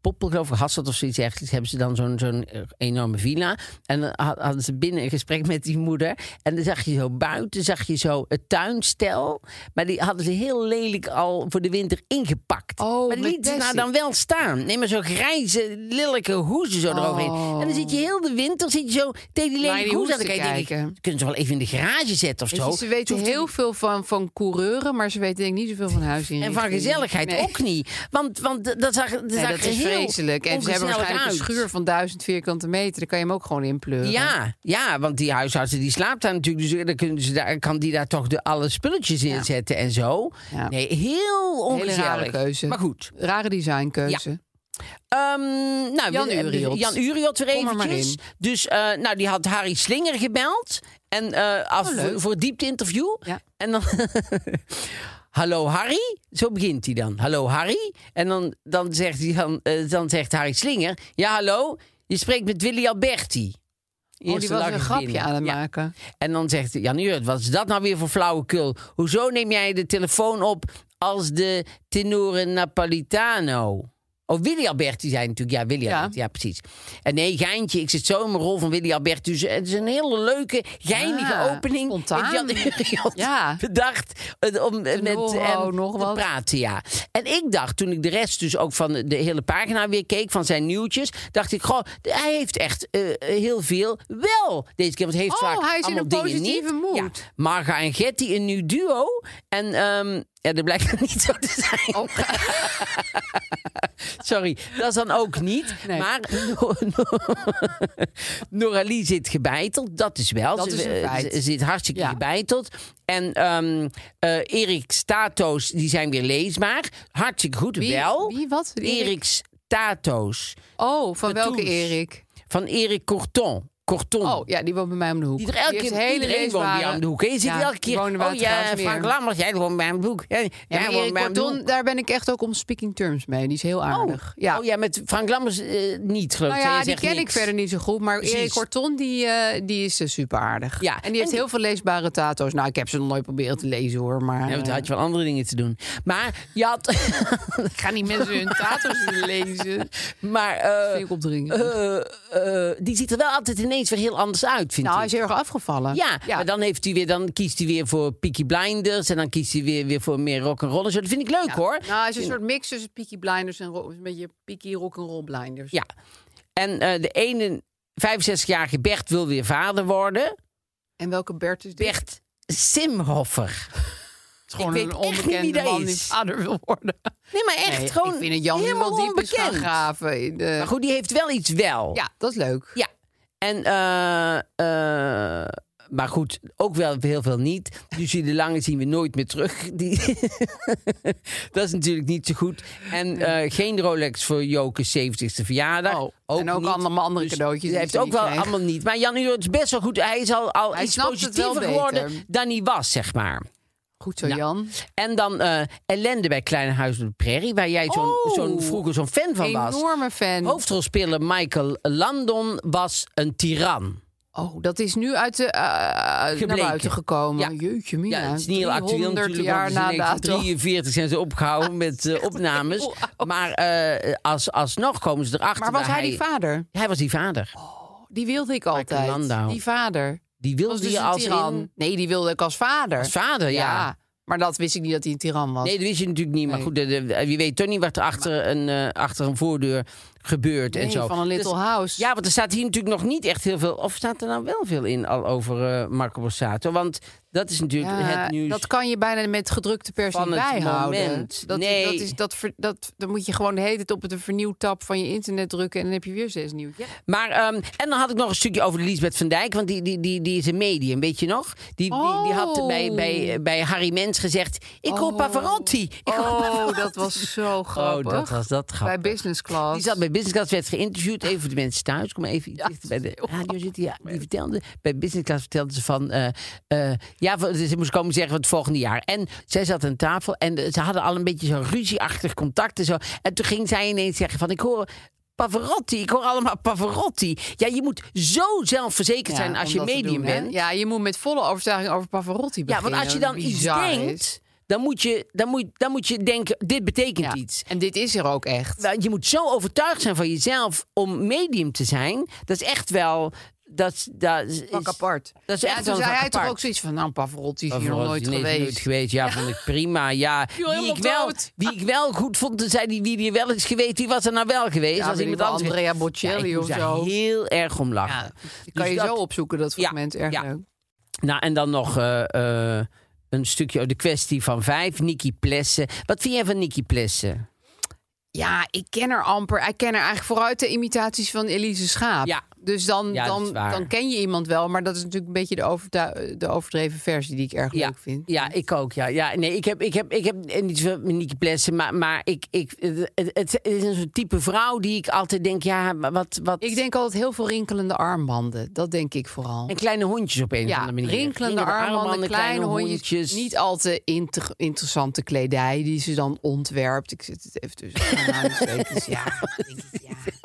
Speaker 1: Poppel, geloof ik, Hasselt of zoiets dergelijks... hebben ze dan zo'n zo'n eh, enorme villa. En dan had- hadden ze binnen een gesprek met die moeder. En dan zag je zo buiten, zag je zo het tuinstel. Maar die hadden ze heel lelijk al voor de winter ingepakt.
Speaker 2: Oh,
Speaker 1: maar die
Speaker 2: met
Speaker 1: lieten ze nou
Speaker 2: plastic.
Speaker 1: dan wel staan. Neem maar zo'n grijze, lelijke hoezen zo eroverheen. En dan zit je heel de winter zit je zo tegen die
Speaker 2: Oh. Naar
Speaker 1: lelijke
Speaker 2: die
Speaker 1: hoezen aan
Speaker 2: hoes te
Speaker 1: kijken. Denk ik,
Speaker 2: kijken.
Speaker 1: Kunnen ze wel even in de garage zetten of
Speaker 2: Weet
Speaker 1: zo?
Speaker 2: je, ze weten
Speaker 1: hoeft die
Speaker 2: heel veel van, van coureuren, maar ze weten denk ik niet zoveel van huizen.
Speaker 1: En van gezelligheid ook niet. Want, want d- dat zag, dat
Speaker 2: Nee,
Speaker 1: zag
Speaker 2: dat
Speaker 1: er
Speaker 2: is
Speaker 1: heel
Speaker 2: vreselijk. En ze hebben
Speaker 1: ongezellig
Speaker 2: waarschijnlijk een
Speaker 1: uit.
Speaker 2: schuur van duizend vierkante meter. Daar kan je hem ook gewoon in pleuren.
Speaker 1: Ja, ja, want die huisartsen die slaapt daar natuurlijk. Dus dan kunnen ze daar, kan die daar toch de, alle spulletjes in zetten en zo.
Speaker 2: Ja.
Speaker 1: Nee, heel
Speaker 2: Hele rare
Speaker 1: ongezellig.
Speaker 2: keuze.
Speaker 1: Maar goed.
Speaker 2: Rare designkeuze. Oh,
Speaker 1: Ehm, nou,
Speaker 2: Jan
Speaker 1: we- eh,
Speaker 2: Uriot.
Speaker 1: Jan Uriot weer
Speaker 2: Kom er maar
Speaker 1: eventjes.
Speaker 2: in.
Speaker 1: Dus eh, nou, die had Harry Slinger gebeld. En eh, af,
Speaker 2: Oh, leuk.
Speaker 1: voor diepte interview.
Speaker 2: Ja.
Speaker 1: En dan... Hallo Harry, zo begint hij dan. Hallo Harry. En dan, dan, zegt, hij dan, eh, dan zegt Harry Slinger... Ja, hallo, je spreekt met Willy Alberti.
Speaker 2: Oh, die
Speaker 1: Eerste
Speaker 2: was
Speaker 1: lag
Speaker 2: een
Speaker 1: ik
Speaker 2: grapje
Speaker 1: binnen.
Speaker 2: aan het
Speaker 1: Ja.
Speaker 2: maken.
Speaker 1: En dan zegt Jan Jurt, wat is dat nou weer voor flauwekul? Hoezo neem jij de telefoon op als de tenore Napolitano? Oh, Willy Alberti zei natuurlijk. Ja, Willy
Speaker 2: Ja.
Speaker 1: Alberti, ja, precies. En nee, geintje, ik zit zo in mijn rol van Willy Alberti. Dus het is een hele leuke, geinige
Speaker 2: Ah,
Speaker 1: opening.
Speaker 2: spontaan.
Speaker 1: Met Jan Jurt
Speaker 2: Ja.
Speaker 1: bedacht eh, om eh, met
Speaker 2: Tenoro,
Speaker 1: hem
Speaker 2: nog
Speaker 1: te
Speaker 2: wat.
Speaker 1: praten, ja. En ik dacht, toen ik de rest dus ook van de hele pagina weer keek... van zijn nieuwtjes, dacht ik, goh, hij heeft echt eh, heel veel wel deze keer. Want hij heeft
Speaker 2: Oh,
Speaker 1: vaak
Speaker 2: hij is in
Speaker 1: allemaal
Speaker 2: een
Speaker 1: dingen
Speaker 2: positieve
Speaker 1: niet.
Speaker 2: mood.
Speaker 1: Ja, Marga en Getty, een nieuw duo. En ehm ja, dat blijkt niet zo te zijn.
Speaker 2: Oh.
Speaker 1: Sorry, dat is dan ook niet.
Speaker 2: Nee.
Speaker 1: Maar Noralie zit gebeiteld, dat is wel.
Speaker 2: Dat is een
Speaker 1: eh,
Speaker 2: feit.
Speaker 1: ze zit hartstikke
Speaker 2: Ja.
Speaker 1: gebeiteld. En ehm eh Erik Stato's, die zijn weer leesbaar. Hartstikke goed,
Speaker 2: Wie-
Speaker 1: wel.
Speaker 2: wie wat? Erik?
Speaker 1: Erik Stato's.
Speaker 2: Oh, van welke
Speaker 1: Tattoos.
Speaker 2: Erik?
Speaker 1: Van Erik Corton. Corton.
Speaker 2: Oh, ja, die woont bij mij om de hoek.
Speaker 1: Die er elke
Speaker 2: heeft
Speaker 1: keer,
Speaker 2: een hele
Speaker 1: iedereen woont
Speaker 2: leesbare-
Speaker 1: hier aan de hoek. hè? Je ziet
Speaker 2: Ja,
Speaker 1: elke
Speaker 2: die
Speaker 1: keer,
Speaker 2: wonen bij
Speaker 1: oh
Speaker 2: het
Speaker 1: ja,
Speaker 2: Watergraafsmeer.
Speaker 1: Frank Lammers, jij woont bij mijn boek. Jij,
Speaker 2: Ja,
Speaker 1: jij
Speaker 2: maar
Speaker 1: woont
Speaker 2: Erik
Speaker 1: bij mijn
Speaker 2: Cordon,
Speaker 1: boek.
Speaker 2: daar ben ik echt ook om speaking terms mee. Die is heel aardig. ja.
Speaker 1: Oh ja, met Frank Lammers eh, niet, geloof ik.
Speaker 2: Nou
Speaker 1: Jij
Speaker 2: ja, die
Speaker 1: zegt
Speaker 2: ken ik
Speaker 1: niks.
Speaker 2: verder niet zo goed. Maar
Speaker 1: Precies.
Speaker 2: Erik Corton, die, eh, die is eh, super aardig.
Speaker 1: Ja,
Speaker 2: En
Speaker 1: en
Speaker 2: die heeft
Speaker 1: die-
Speaker 2: heel veel leesbare tato's. Nou, ik heb ze nog nooit proberen te lezen hoor. Maar
Speaker 1: Ja, want
Speaker 2: eh,
Speaker 1: dan had je wel andere dingen te doen. Maar je had...
Speaker 2: gaan die mensen hun tato's niet lezen?
Speaker 1: maar
Speaker 2: Dat
Speaker 1: eh,
Speaker 2: vind ik opdringen.
Speaker 1: eh, eh, die ziet er wel altijd ineens weer heel anders uit, vind
Speaker 2: nou, hij
Speaker 1: ik.
Speaker 2: is heel erg afgevallen.
Speaker 1: Ja, maar dan, heeft hij weer, dan kiest hij weer voor Peaky Blinders... en dan kiest hij weer, weer voor meer rock'n'roll. en zo. Dat vind ik leuk, hoor.
Speaker 2: Nou, hij is een soort mix tussen Peaky Blinders en ro- een beetje Peaky Rock'n'Roll Blinders.
Speaker 1: Ja. En eh, de ene 65-jarige Bert wil weer vader worden.
Speaker 2: En welke Bert is dit?
Speaker 1: Bert Simhoffer.
Speaker 2: is gewoon
Speaker 1: ik weet
Speaker 2: een
Speaker 1: echt niet
Speaker 2: onbekende
Speaker 1: wie dat
Speaker 2: man die
Speaker 1: is.
Speaker 2: vader wil worden.
Speaker 1: Nee, maar echt
Speaker 2: Nee,
Speaker 1: gewoon
Speaker 2: ik vind het Jan
Speaker 1: helemaal
Speaker 2: helemaal diep is gaan
Speaker 1: onbekend.
Speaker 2: graven. in de-
Speaker 1: Maar goed, die heeft wel iets wel.
Speaker 2: Ja, dat is leuk.
Speaker 1: Ja. En, eh, eh, maar goed, ook wel heel veel niet. Lucie de Lange zien we nooit meer terug. Die dat is natuurlijk niet zo goed. En eh, geen Rolex voor Joke's 70ste verjaardag. Dus
Speaker 2: Oh, en ook allemaal andere cadeautjes
Speaker 1: Hij
Speaker 2: die
Speaker 1: heeft
Speaker 2: ze
Speaker 1: ook
Speaker 2: niet
Speaker 1: wel
Speaker 2: kreeg.
Speaker 1: allemaal niet. Maar Jan Uur is best wel goed. Hij is al, al
Speaker 2: Hij
Speaker 1: iets
Speaker 2: snapt het wel
Speaker 1: positiever
Speaker 2: beter.
Speaker 1: geworden dan hij was, zeg maar.
Speaker 2: Goed zo,
Speaker 1: Nou,
Speaker 2: Jan.
Speaker 1: En dan eh, ellende bij Kleine Huis op de Prairie, waar jij zo'n,
Speaker 2: Oh.
Speaker 1: zo'n, vroeger zo'n fan van was.
Speaker 2: Enorme fan.
Speaker 1: Hoofdrolspeler Michael Landon was een tiran.
Speaker 2: Oh, dat is nu uit de, eh, naar
Speaker 1: Gebleken.
Speaker 2: buiten gekomen.
Speaker 1: Ja.
Speaker 2: Jeetje mina.
Speaker 1: Ja, het is niet heel actueel
Speaker 2: 300
Speaker 1: natuurlijk,
Speaker 2: jaar
Speaker 1: want
Speaker 2: na
Speaker 1: ze zijn
Speaker 2: dato.
Speaker 1: 43 zijn ze opgehouden met eh, opnames. Maar eh als, alsnog komen ze erachter.
Speaker 2: Maar was
Speaker 1: waar
Speaker 2: hij die vader? Oh.
Speaker 1: Hij was die vader.
Speaker 2: Die wilde ik altijd.
Speaker 1: Landau.
Speaker 2: Die vader.
Speaker 1: Die
Speaker 2: Was
Speaker 1: wilde
Speaker 2: dus
Speaker 1: je
Speaker 2: een
Speaker 1: als
Speaker 2: tiran.
Speaker 1: in-
Speaker 2: Nee, die wilde ik als vader.
Speaker 1: Als vader, ja.
Speaker 2: ja. Maar dat wist ik niet dat hij een tiran was.
Speaker 1: Nee, dat wist je natuurlijk niet. Maar
Speaker 2: Nee.
Speaker 1: goed, de, de- je weet toch niet wat er achter een, eh, achter een voordeur gebeurt en
Speaker 2: Nee,
Speaker 1: zo.
Speaker 2: van een Little
Speaker 1: Dus-
Speaker 2: House.
Speaker 1: ja, want er staat hier natuurlijk nog niet echt heel veel... Of staat er nou wel veel in al over eh, Marco Borsato? Want dat is natuurlijk
Speaker 2: Ja,
Speaker 1: het nieuws.
Speaker 2: Dat kan je bijna met gedrukte pers
Speaker 1: Van
Speaker 2: niet
Speaker 1: het
Speaker 2: bijhouden.
Speaker 1: moment.
Speaker 2: Dat,
Speaker 1: Nee.
Speaker 2: dat is, dat, ver- dat, dan moet je gewoon de hele tijd op het vernieuwtab van je internet drukken... en dan heb je weer zes nieuws.
Speaker 1: Maar, ehm, en dan had ik nog een stukje over Lisbeth van Dijk. Want die, die, die, die is een medium, weet je nog? Die, die, die had
Speaker 2: Oh.
Speaker 1: bij, bij, bij Harry Mens gezegd... Ik hoor Pavarotti. Ik hoor
Speaker 2: Oh,
Speaker 1: Pavarotti."
Speaker 2: dat was zo grappig.
Speaker 1: Oh, dat was dat
Speaker 2: Bij
Speaker 1: grappig.
Speaker 2: Business Class.
Speaker 1: Die zat bij Business Class, werd geïnterviewd. Even voor de mensen thuis. Kom maar even iets
Speaker 2: Ja,
Speaker 1: dichter bij
Speaker 2: dat is
Speaker 1: de
Speaker 2: heel
Speaker 1: radio zitten. Ja, die vertelde, bij Business Class vertelde ze van... eh, eh, ja, v- ze moest komen zeggen van het volgende jaar. En zij zat aan tafel en eh, ze hadden al een beetje zo'n ruzieachtig contact en zo. En toen ging zij ineens zeggen van... Ik hoor Pavarotti, ik hoor allemaal Pavarotti. Ja, je moet zo zelfverzekerd
Speaker 2: Ja,
Speaker 1: zijn als
Speaker 2: om
Speaker 1: je
Speaker 2: dat te
Speaker 1: medium
Speaker 2: doen, hè?
Speaker 1: bent.
Speaker 2: Ja, je moet met volle overtuiging over Pavarotti
Speaker 1: Ja,
Speaker 2: beginnen.
Speaker 1: want als je dan
Speaker 2: wat
Speaker 1: iets
Speaker 2: bizar is.
Speaker 1: denkt... Dan moet, je, dan, moet, dan moet je denken, dit betekent
Speaker 2: Ja.
Speaker 1: iets.
Speaker 2: En dit is er ook echt.
Speaker 1: Nou, je moet zo overtuigd zijn van jezelf om medium te zijn. Dat is echt wel. Dat, is- dat is,
Speaker 2: Pak apart.
Speaker 1: Dat is
Speaker 2: Ja,
Speaker 1: echt
Speaker 2: toen
Speaker 1: wel
Speaker 2: zei
Speaker 1: vak
Speaker 2: hij toch
Speaker 1: apart.
Speaker 2: ook zoiets van... nou, Pavarotti is
Speaker 1: Dat
Speaker 2: hier nog
Speaker 1: was
Speaker 2: nooit
Speaker 1: ineens
Speaker 2: geweest.
Speaker 1: nooit geweest. Ja, vond ik prima. Ja,
Speaker 2: joh,
Speaker 1: wie, ik
Speaker 2: helemaal
Speaker 1: wel,
Speaker 2: dood.
Speaker 1: wie ik wel goed vond, toen zei die wie die wel is geweest, die was er nou wel geweest.
Speaker 2: Ja,
Speaker 1: als
Speaker 2: weet
Speaker 1: iemand
Speaker 2: ik wel,
Speaker 1: anders.
Speaker 2: Andrea
Speaker 1: ja,
Speaker 2: Bocelli
Speaker 1: ik
Speaker 2: of
Speaker 1: moest daar
Speaker 2: zo.
Speaker 1: heel erg om lachen.
Speaker 2: Ja, die kan
Speaker 1: Dus
Speaker 2: je
Speaker 1: dat-
Speaker 2: zo opzoeken, dat
Speaker 1: Ja,
Speaker 2: fragment. erg
Speaker 1: ja.
Speaker 2: leuk.
Speaker 1: Nou, en dan nog eh, eh, een stukje over de kwestie van vijf. Nicky Plessen. Wat vind jij van Nicky Plessen?
Speaker 2: Ja, ik ken haar amper. Ik ken haar eigenlijk vooruit de imitaties van Elise Schaap.
Speaker 1: Ja.
Speaker 2: Dus dan,
Speaker 1: Ja, dat is
Speaker 2: dan,
Speaker 1: waar.
Speaker 2: dan ken je iemand wel. Maar dat is natuurlijk een beetje de, overtu- de overdreven versie die ik erg leuk vind.
Speaker 1: Ja, ik ook. Ja, ja nee, ik heb, ik heb, ik heb eh, niet zoveel met Nicky Plessen, maar, maar ik, ik, het, het- het is een soort type vrouw die ik altijd denk, ja, maar wat, wat.
Speaker 2: Ik denk altijd heel veel rinkelende armbanden. Dat denk ik vooral.
Speaker 1: en kleine hondjes op een of
Speaker 2: Ja,
Speaker 1: andere manier.
Speaker 2: rinkelende armbanden, kleine, hondjes. Niet al te inter- interessante kledij die ze dan ontwerpt. Ik zit het even tussen. mijn aanhalingstekens. ja, ik denk het, ja.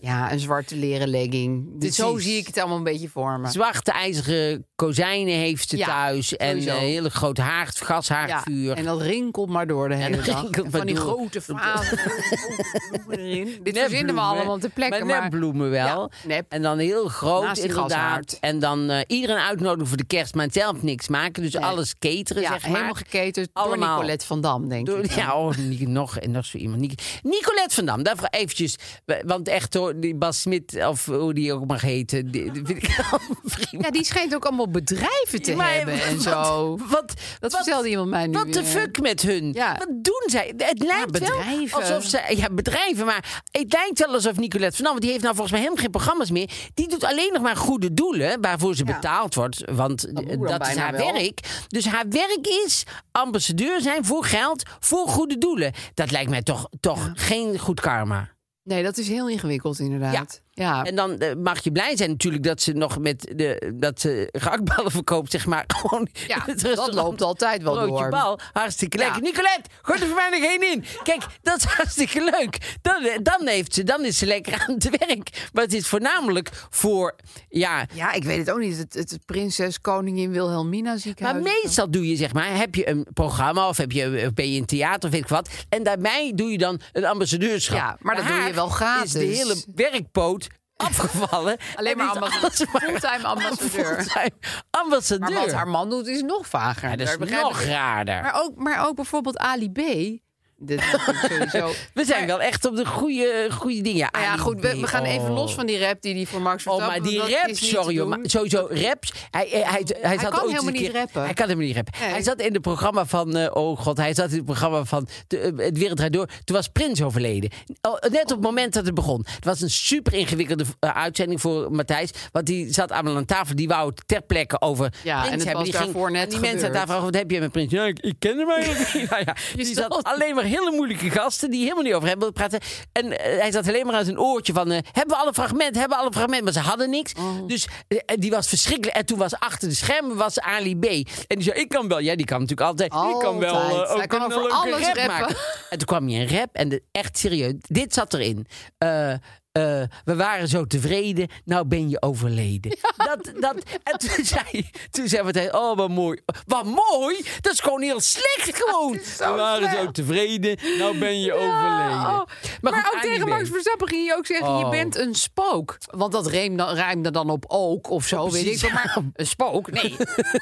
Speaker 2: ja, een zwarte leren legging. Dus zo
Speaker 1: Precies.
Speaker 2: zie ik het allemaal een beetje voor me.
Speaker 1: Zwarte ijzeren kozijnen heeft ze
Speaker 2: Ja,
Speaker 1: thuis. En een
Speaker 2: sowieso.
Speaker 1: hele groot haard, gashaardvuur.
Speaker 2: en dat rinkelt maar door de hele
Speaker 1: dat
Speaker 2: dag.
Speaker 1: rinkelt
Speaker 2: En
Speaker 1: maar
Speaker 2: van die
Speaker 1: door.
Speaker 2: grote vazen. bloemen erin. Dit
Speaker 1: Nepbloemen,
Speaker 2: verzinnen we allemaal te
Speaker 1: Maar
Speaker 2: plekken. Maar
Speaker 1: nepbloemen wel.
Speaker 2: Ja, nep.
Speaker 1: En dan heel groot
Speaker 2: Naast die
Speaker 1: inderdaad.
Speaker 2: gashaard.
Speaker 1: En dan eh, iedereen uitnodigen voor de kerst, maar zelf niks maken. Dus
Speaker 2: Nee.
Speaker 1: alles cateren,
Speaker 2: ja,
Speaker 1: zeg maar.
Speaker 2: helemaal geketerd door
Speaker 1: Allemaal.
Speaker 2: Nicolette van Dam, denk
Speaker 1: Door-
Speaker 2: ik.
Speaker 1: ja, oh, Nic- nog, en nog zo iemand. Nic- Nicolette van Dam, daarvoor eventjes. Want echt hoor, die Bas Smit, of hoe die ook mag heten, die, die vind ik al prima.
Speaker 2: Ja, die schijnt ook allemaal bedrijven te
Speaker 1: Maar
Speaker 2: hebben en
Speaker 1: wat-
Speaker 2: zo.
Speaker 1: Wat,
Speaker 2: Dat
Speaker 1: wat,
Speaker 2: vertelde iemand mij nu
Speaker 1: Wat de
Speaker 2: weer.
Speaker 1: fuck met hun?
Speaker 2: Ja.
Speaker 1: Wat doen zij? Het lijkt
Speaker 2: bedrijven.
Speaker 1: wel alsof ze... Ja, bedrijven, maar het lijkt wel alsof Nicolette van Dam... want die heeft nou volgens mij helemaal geen programma's meer... die doet alleen nog maar goede doelen waarvoor ze
Speaker 2: Ja.
Speaker 1: betaald wordt. Want
Speaker 2: Dat moet
Speaker 1: eh,
Speaker 2: dan
Speaker 1: dat is
Speaker 2: bijna
Speaker 1: haar
Speaker 2: wel.
Speaker 1: werk. Dus haar werk is ambassadeur zijn voor geld, voor goede doelen. Dat lijkt mij toch, toch geen goed karma.
Speaker 2: Nee, dat is heel ingewikkeld inderdaad. Ja,
Speaker 1: En dan eh, mag je blij zijn natuurlijk dat ze nog met de, dat ze gehaktballen verkoopt, zeg maar. Gewoon in
Speaker 2: ja.
Speaker 1: het
Speaker 2: dat
Speaker 1: restaurant.
Speaker 2: loopt altijd wel
Speaker 1: Broodje
Speaker 2: door.
Speaker 1: bal, hartstikke lekker.
Speaker 2: Ja.
Speaker 1: Nicolette, gooi er voor mij nog één in. Kijk, dat is hartstikke leuk. Dan, eh, dan, heeft ze, dan is ze lekker aan het werk. Maar het is voornamelijk voor, ja...
Speaker 2: Ja, ik weet het ook niet. Het, het, het prinses koningin Wilhelmina ziekenhuis.
Speaker 1: Maar meestal doe je, zeg maar, heb je een programma of heb je, of ben je in theater of weet ik wat. En daarbij doe je dan een ambassadeurschap.
Speaker 2: Ja, maar dat
Speaker 1: Bij
Speaker 2: doe je
Speaker 1: haar
Speaker 2: wel gratis.
Speaker 1: is de hele werkpoot afgevallen.
Speaker 2: Alleen
Speaker 1: En
Speaker 2: maar
Speaker 1: is
Speaker 2: ambas-
Speaker 1: alles maar
Speaker 2: fulltime ambassadeur.
Speaker 1: fulltime ambassadeur.
Speaker 2: Maar wat haar man doet is nog vager.
Speaker 1: Ja, dat
Speaker 2: Daar
Speaker 1: is
Speaker 2: begrijp ik
Speaker 1: nog raarder.
Speaker 2: Maar ook, maar ook bijvoorbeeld Ali B. Dit is natuurlijk sowieso.
Speaker 1: we zijn wel echt op de goede, goede dingen.
Speaker 2: Maar Nou ja,
Speaker 1: Ali
Speaker 2: goed, we,
Speaker 1: B,
Speaker 2: we gaan even
Speaker 1: oh.
Speaker 2: los van die rap die die voor Max
Speaker 1: Oh, maar
Speaker 2: Verstappen...
Speaker 1: die
Speaker 2: want dat
Speaker 1: rap,
Speaker 2: is niet
Speaker 1: sorry
Speaker 2: te
Speaker 1: joh.
Speaker 2: doen.
Speaker 1: maar Sowieso raps. Hij, hij, hij, hij zat
Speaker 2: kan
Speaker 1: ooit eens
Speaker 2: helemaal
Speaker 1: een
Speaker 2: niet
Speaker 1: keer-
Speaker 2: rappen.
Speaker 1: Hij kan helemaal niet rappen.
Speaker 2: Nee.
Speaker 1: Hij zat in het programma van, eh, oh god, hij zat in het programma van de, eh, Het Wereld Draait Door. Toen was Prins overleden. Oh, net op het moment dat het begon. Het was een super ingewikkelde eh, uitzending voor Matthijs. Want die zat allemaal aan tafel. Die wou het ter plekke over
Speaker 2: Ja, en
Speaker 1: Prins
Speaker 2: het
Speaker 1: hebben.
Speaker 2: was
Speaker 1: die ging-
Speaker 2: daarvoor net
Speaker 1: en die mensen aan
Speaker 2: gebeurd.
Speaker 1: tafel vragen, wat heb je met Prins? Ja, ik, ik ken hem eigenlijk niet. Nou ja, die zat alleen maar hele moeilijke gasten die helemaal niet over hem wilden praten. En eh, hij zat alleen maar uit een oortje van, eh, hebben we alle fragmenten, hebben we alle fragmenten. Maar ze hadden niks. Dus eh, die was verschrikkelijk. En toen was achter de schermen was Ali B. En die zei, ik kan wel. Ja, die kan natuurlijk altijd. Ik kan wel
Speaker 2: Altijd.
Speaker 1: eh, ook
Speaker 2: Hij kan
Speaker 1: een
Speaker 2: over
Speaker 1: leuke
Speaker 2: alles
Speaker 1: rap
Speaker 2: rappen.
Speaker 1: maken. En toen kwam je een rap en de, echt serieus, dit zat erin. Eh, eh, we waren zo tevreden, nou ben je overleden. Dat, dat, en toen zei, toen zei we tegen, oh wat mooi. Wat mooi? Dat is gewoon heel slecht gewoon.
Speaker 2: zo
Speaker 1: we waren
Speaker 2: slecht.
Speaker 1: zo tevreden, nou ben je overleden.
Speaker 2: oh.
Speaker 1: Maar,
Speaker 2: Maar
Speaker 1: goed,
Speaker 2: ook
Speaker 1: Annie
Speaker 2: tegen
Speaker 1: Bing.
Speaker 2: Max Verstappen ging je ook zeggen: je
Speaker 1: Oh.
Speaker 2: bent een spook. Want dat reemde, ruimde dan op ook of zo, weet ik
Speaker 1: precies,
Speaker 2: wel. Maar een spook? Nee.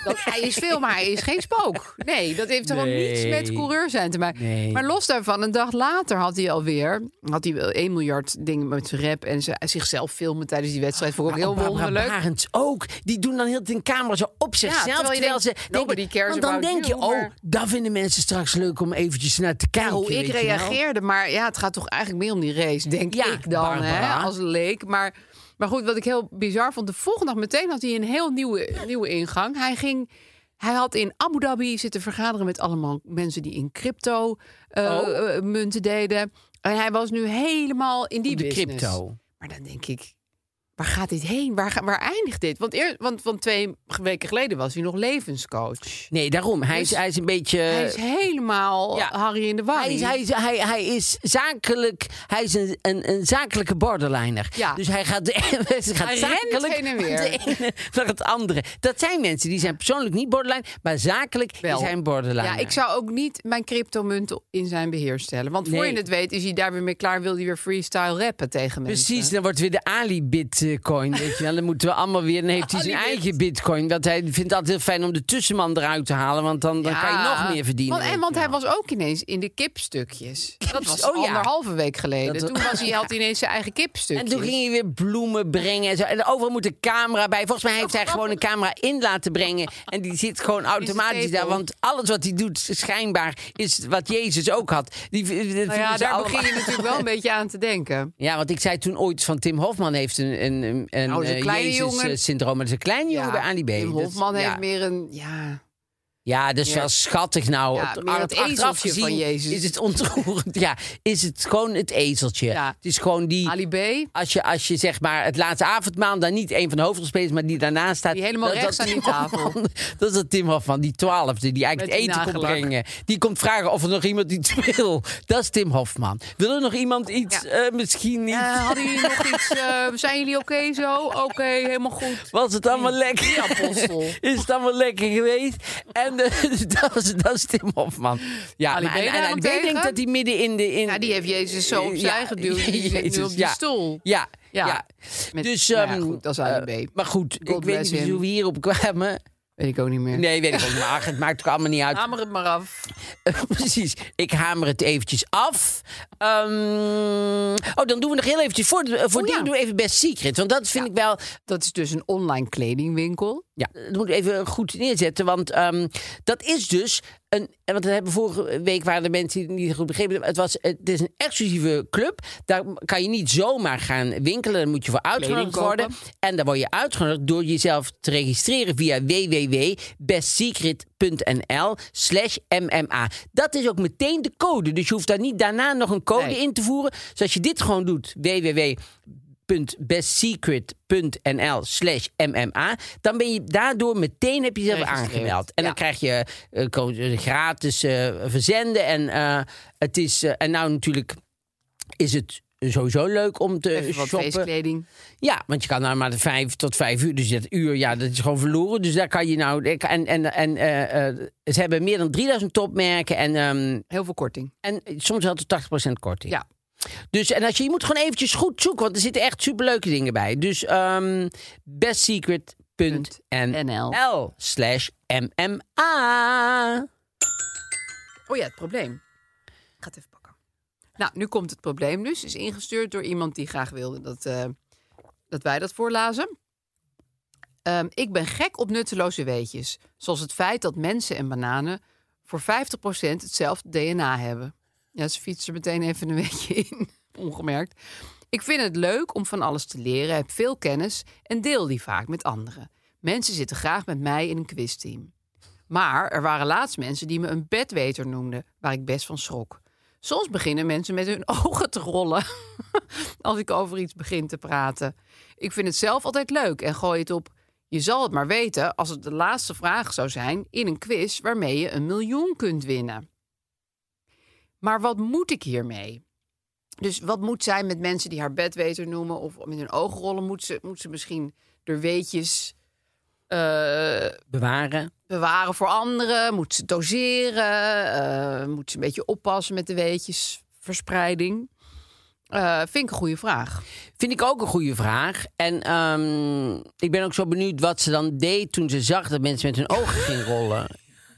Speaker 2: Dat, hij is veel, maar hij is geen spook. Nee, dat heeft gewoon niets met
Speaker 1: Nee.
Speaker 2: coureur zijn te maken.
Speaker 1: Nee.
Speaker 2: Maar los daarvan, een dag later had hij alweer had hij wel 1 miljard dingen met zijn rap en ze- zichzelf filmen tijdens die wedstrijd. Vond ik ook
Speaker 1: Maar
Speaker 2: heel
Speaker 1: ook Barbara
Speaker 2: wonderlijk.
Speaker 1: Barends ook. Die doen dan heel de camera zo op zichzelf.
Speaker 2: terwijl
Speaker 1: terwijl
Speaker 2: je
Speaker 1: ze
Speaker 2: denkt,
Speaker 1: denken-
Speaker 2: nobody cares
Speaker 1: Want dan
Speaker 2: about
Speaker 1: denk je,
Speaker 2: you,
Speaker 1: oh,
Speaker 2: maar-
Speaker 1: dat vinden mensen straks leuk om eventjes naar te kijken.
Speaker 2: hoe
Speaker 1: weet
Speaker 2: ik
Speaker 1: je wel.
Speaker 2: reageerde. Maar ja, het gaat toch eigenlijk meer om die race, denk
Speaker 1: Ja,
Speaker 2: ik dan, hè,
Speaker 1: Barbara.
Speaker 2: als leek. Maar, maar goed, wat ik heel bizar vond, de volgende dag meteen had hij een heel nieuwe, nieuwe ingang. Hij ging... Hij had in Abu Dhabi zitten vergaderen met allemaal mensen die in crypto eh,
Speaker 1: Oh.
Speaker 2: eh, munten deden. En hij was nu helemaal in die
Speaker 1: Op de
Speaker 2: business.
Speaker 1: crypto.
Speaker 2: Maar dan denk ik, waar gaat dit heen? Waar, ga- waar eindigt dit? Want, eer, want, want twee weken geleden was hij nog levenscoach.
Speaker 1: Nee, daarom. Hij,
Speaker 2: Dus
Speaker 1: is, hij is een beetje...
Speaker 2: hij is helemaal
Speaker 1: Eh, ja.
Speaker 2: Harry in de war.
Speaker 1: Hij is, hij, is- hij, hij is zakelijk, hij is een, een, een zakelijke borderliner.
Speaker 2: Ja.
Speaker 1: Dus hij gaat, de, hij gaat
Speaker 2: rent
Speaker 1: zakelijk
Speaker 2: heen en
Speaker 1: van
Speaker 2: weer.
Speaker 1: de ene naar het andere. Dat zijn mensen die zijn persoonlijk niet borderline, maar zakelijk
Speaker 2: Wel.
Speaker 1: is hij een borderliner.
Speaker 2: Ja, ik zou ook niet mijn cryptomunt in zijn beheer stellen. Want voor
Speaker 1: Nee.
Speaker 2: je het weet is hij daar weer mee klaar en wil hij weer freestyle rappen tegen mensen.
Speaker 1: Precies, dan wordt weer de Ali-bitcoin, weet je wel. Dan moeten we allemaal weer... Dan heeft hij zijn
Speaker 2: Alibit.
Speaker 1: eigen bitcoin. Want hij vindt het altijd heel fijn om de tussenman eruit te halen. Want dan, dan kan je
Speaker 2: Ja.
Speaker 1: nog meer verdienen.
Speaker 2: Want, en want hij was ook ineens in de kipstukjes. Dat was
Speaker 1: oh ja.
Speaker 2: anderhalve week geleden.
Speaker 1: Dat-
Speaker 2: Toen was hij, had hij ineens zijn eigen kipstukjes.
Speaker 1: En toen ging hij weer bloemen brengen. En, zo. en overal moet een camera bij. Volgens mij heeft hij gewoon een camera in laten brengen. En die zit gewoon automatisch
Speaker 2: zetel.
Speaker 1: daar. Want alles wat hij doet, schijnbaar, is wat Jezus ook had. Die, die vinden
Speaker 2: nou ja,
Speaker 1: ze
Speaker 2: daar
Speaker 1: allemaal-
Speaker 2: begin je natuurlijk wel een beetje aan te denken.
Speaker 1: Ja, want ik zei toen ooit van Tim Hofman heeft een, een, een, een eh,
Speaker 2: Oh, dat is een kleine jongen.
Speaker 1: Jezus-syndroom. Dat is een kleine jongen bij Ali B.
Speaker 2: Tim
Speaker 1: Dat-
Speaker 2: Hofman
Speaker 1: ja.
Speaker 2: heeft meer een... Ja,
Speaker 1: Ja, dat is
Speaker 2: meer-
Speaker 1: wel schattig nou.
Speaker 2: Ja,
Speaker 1: Het-
Speaker 2: meer het
Speaker 1: achteraf
Speaker 2: ezeltje van
Speaker 1: gezien
Speaker 2: Jezus.
Speaker 1: Is het ontroerend? Ja, is het gewoon het ezeltje?
Speaker 2: Ja.
Speaker 1: Het is gewoon die...
Speaker 2: Ali B.
Speaker 1: Als je, als je zeg maar het laatste avondmaal, dan niet een van de hoofdrolspelers, maar die daarnaast staat.
Speaker 2: Die helemaal rechts aan die
Speaker 1: Tim
Speaker 2: tafel.
Speaker 1: Hofman- dat is dat Tim Hofman, die twaalfde, die eigenlijk
Speaker 2: Met
Speaker 1: het
Speaker 2: die
Speaker 1: eten komt
Speaker 2: nagelak.
Speaker 1: brengen. Die komt vragen of er nog iemand iets wil. Dat is Tim Hofman. Wil er nog iemand iets?
Speaker 2: Ja.
Speaker 1: Eh, misschien niet.
Speaker 2: Eh, hadden jullie nog iets... eh, zijn jullie oké zo? Oké, helemaal goed.
Speaker 1: Was het allemaal
Speaker 2: Die
Speaker 1: lekker?
Speaker 2: apostel.
Speaker 1: Is het allemaal lekker geweest? En eh, dat, is, dat is Tim Hofman. Ja,
Speaker 2: Ali
Speaker 1: maar, en,
Speaker 2: B
Speaker 1: en Ali B
Speaker 2: daarentegen?
Speaker 1: denkt dat hij midden in de... In,
Speaker 2: Ja, die heeft Jezus zo opzij
Speaker 1: Ja,
Speaker 2: geduwd. Die zit nu
Speaker 1: Jezus,
Speaker 2: op die
Speaker 1: ja.
Speaker 2: stoel.
Speaker 1: Ja,
Speaker 2: Ja.
Speaker 1: ja.
Speaker 2: Met-
Speaker 1: dus,
Speaker 2: nou ja,
Speaker 1: ehm,
Speaker 2: goed, dat is Ali
Speaker 1: eh,
Speaker 2: B.
Speaker 1: Maar goed,
Speaker 2: God
Speaker 1: ik weet
Speaker 2: bless
Speaker 1: niet precies
Speaker 2: him.
Speaker 1: hoe we hierop kwamen.
Speaker 2: Weet ik ook niet meer.
Speaker 1: Nee, weet ik ook niet. Maar het maakt ook allemaal niet uit.
Speaker 2: Hamer het maar af.
Speaker 1: Precies. Ik hamer het eventjes af. Ehm, oh, dan doen we nog heel eventjes... Voor, eh, voor
Speaker 2: Oh, ja.
Speaker 1: dingen doen we even Best Secret. Want dat vind ik wel...
Speaker 2: Dat is dus een online kledingwinkel.
Speaker 1: Ja, dat Eh, moet ik even goed neerzetten. Want ehm, dat is dus een. en Want dat hebben we vorige week waren de mensen die het niet goed begrepen. hebben. Het, was, het is een exclusieve club. Daar kan je niet zomaar gaan winkelen. Daar moet je voor uitgenodigd
Speaker 2: Kleding kopen.
Speaker 1: worden. En daar word je uitgenodigd door jezelf te registreren via www.bestsecret.nl slash MMA. Dat is ook meteen de code. Dus je hoeft daar niet daarna nog een code
Speaker 2: Nee.
Speaker 1: in te voeren. Dus als je dit gewoon doet, www bestsecret.nl slash MMA. Dan ben je daardoor meteen heb je jezelf
Speaker 2: Geregistreerd,
Speaker 1: aangemeld. En
Speaker 2: ja.
Speaker 1: dan krijg je eh, ko- eh, gratis eh, verzenden. En, eh, het is, eh, en nou natuurlijk is het sowieso leuk om te
Speaker 2: Even wat
Speaker 1: shoppen.
Speaker 2: feestkleding.
Speaker 1: Ja, want je kan nou maar de vijf tot vijf uur. Dus dat uur, ja, dat is gewoon verloren. Dus daar kan je nou... ik- En, en, en eh, eh, ze hebben meer dan 3000 topmerken. En, ehm,
Speaker 2: Heel veel korting.
Speaker 1: en eh, soms wel tot 80% korting.
Speaker 2: Ja.
Speaker 1: Dus en als je, je moet gewoon eventjes goed zoeken, want er zitten echt superleuke dingen bij. Dus ehm bestsecret.nl slash MMA.
Speaker 2: Oh ja, het probleem. Ik ga het even pakken. Nou, nu komt het probleem dus. Is ingestuurd door iemand die graag wilde dat, eh, dat wij dat voorlazen. Ehm, ik ben gek op nutteloze weetjes. Zoals het feit dat mensen en bananen voor 50% hetzelfde DNA hebben. Ja, ze fietsen er meteen even een weetje in. Ongemerkt. Ik vind het leuk om van alles te leren, heb veel kennis en deel die vaak met anderen. Mensen zitten graag met mij in een quizteam. Maar er waren laatst mensen die me een bedweter noemden, waar ik best van schrok. Soms beginnen mensen met hun ogen te rollen als ik over iets begin te praten. Ik vind het zelf altijd leuk en gooi het op. Je zal het maar weten als het de laatste vraag zou zijn in een quiz waarmee je een miljoen kunt winnen. Maar wat moet ik hiermee? Dus wat moet zij met mensen die haar bedweter noemen of met hun ogen rollen? Moet ze, moet ze misschien er weetjes eh,
Speaker 1: Bewaren.
Speaker 2: bewaren voor anderen? Moet ze doseren? eh, moet ze een beetje oppassen met de weetjesverspreiding? Eh, vind ik een goede vraag.
Speaker 1: Vind ik ook een goede vraag. En ehm, ik ben ook zo benieuwd wat ze dan deed toen ze zag dat mensen met hun ogen gingen rollen.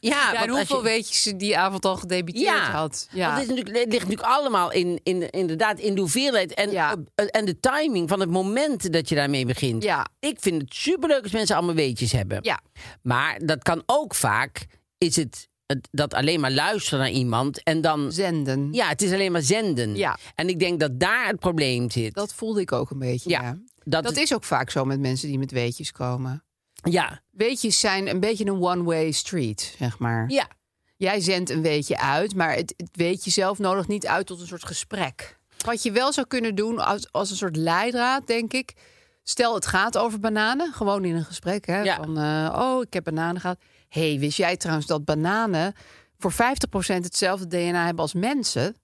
Speaker 1: Ja,
Speaker 2: Ja,
Speaker 1: want
Speaker 2: en
Speaker 1: als
Speaker 2: hoeveel
Speaker 1: je-
Speaker 2: weet je ze die avond al gedebiteerd
Speaker 1: ja,
Speaker 2: had? Ja.
Speaker 1: want het, is natuurlijk, het ligt natuurlijk allemaal in, in, inderdaad in de hoeveelheid en,
Speaker 2: Ja.
Speaker 1: op- en de timing van het moment dat je daarmee begint.
Speaker 2: Ja.
Speaker 1: Ik vind het superleuk als mensen allemaal weetjes hebben.
Speaker 2: ja.
Speaker 1: Maar dat kan ook vaak, is het, het dat alleen maar luisteren naar iemand en dan...
Speaker 2: Zenden.
Speaker 1: Ja, het is alleen maar zenden.
Speaker 2: Ja.
Speaker 1: En ik denk dat daar het probleem zit.
Speaker 2: Dat voelde ik ook een beetje.
Speaker 1: Ja,
Speaker 2: Ja.
Speaker 1: dat,
Speaker 2: Dat, is ook vaak zo met mensen die met weetjes komen.
Speaker 1: Ja,
Speaker 2: Weetjes zijn een beetje een one-way street, zeg maar.
Speaker 1: ja.
Speaker 2: Jij zendt een weetje uit, maar het, het weetje zelf nodigt niet uit tot een soort gesprek. Wat je wel zou kunnen doen als, als een soort leidraad, denk ik. Stel, het gaat over bananen, gewoon in een gesprek. Hè,
Speaker 1: Ja.
Speaker 2: Van, eh, oh, ik heb bananen gehad. hey, wist jij trouwens dat bananen voor 50% hetzelfde DNA hebben als mensen?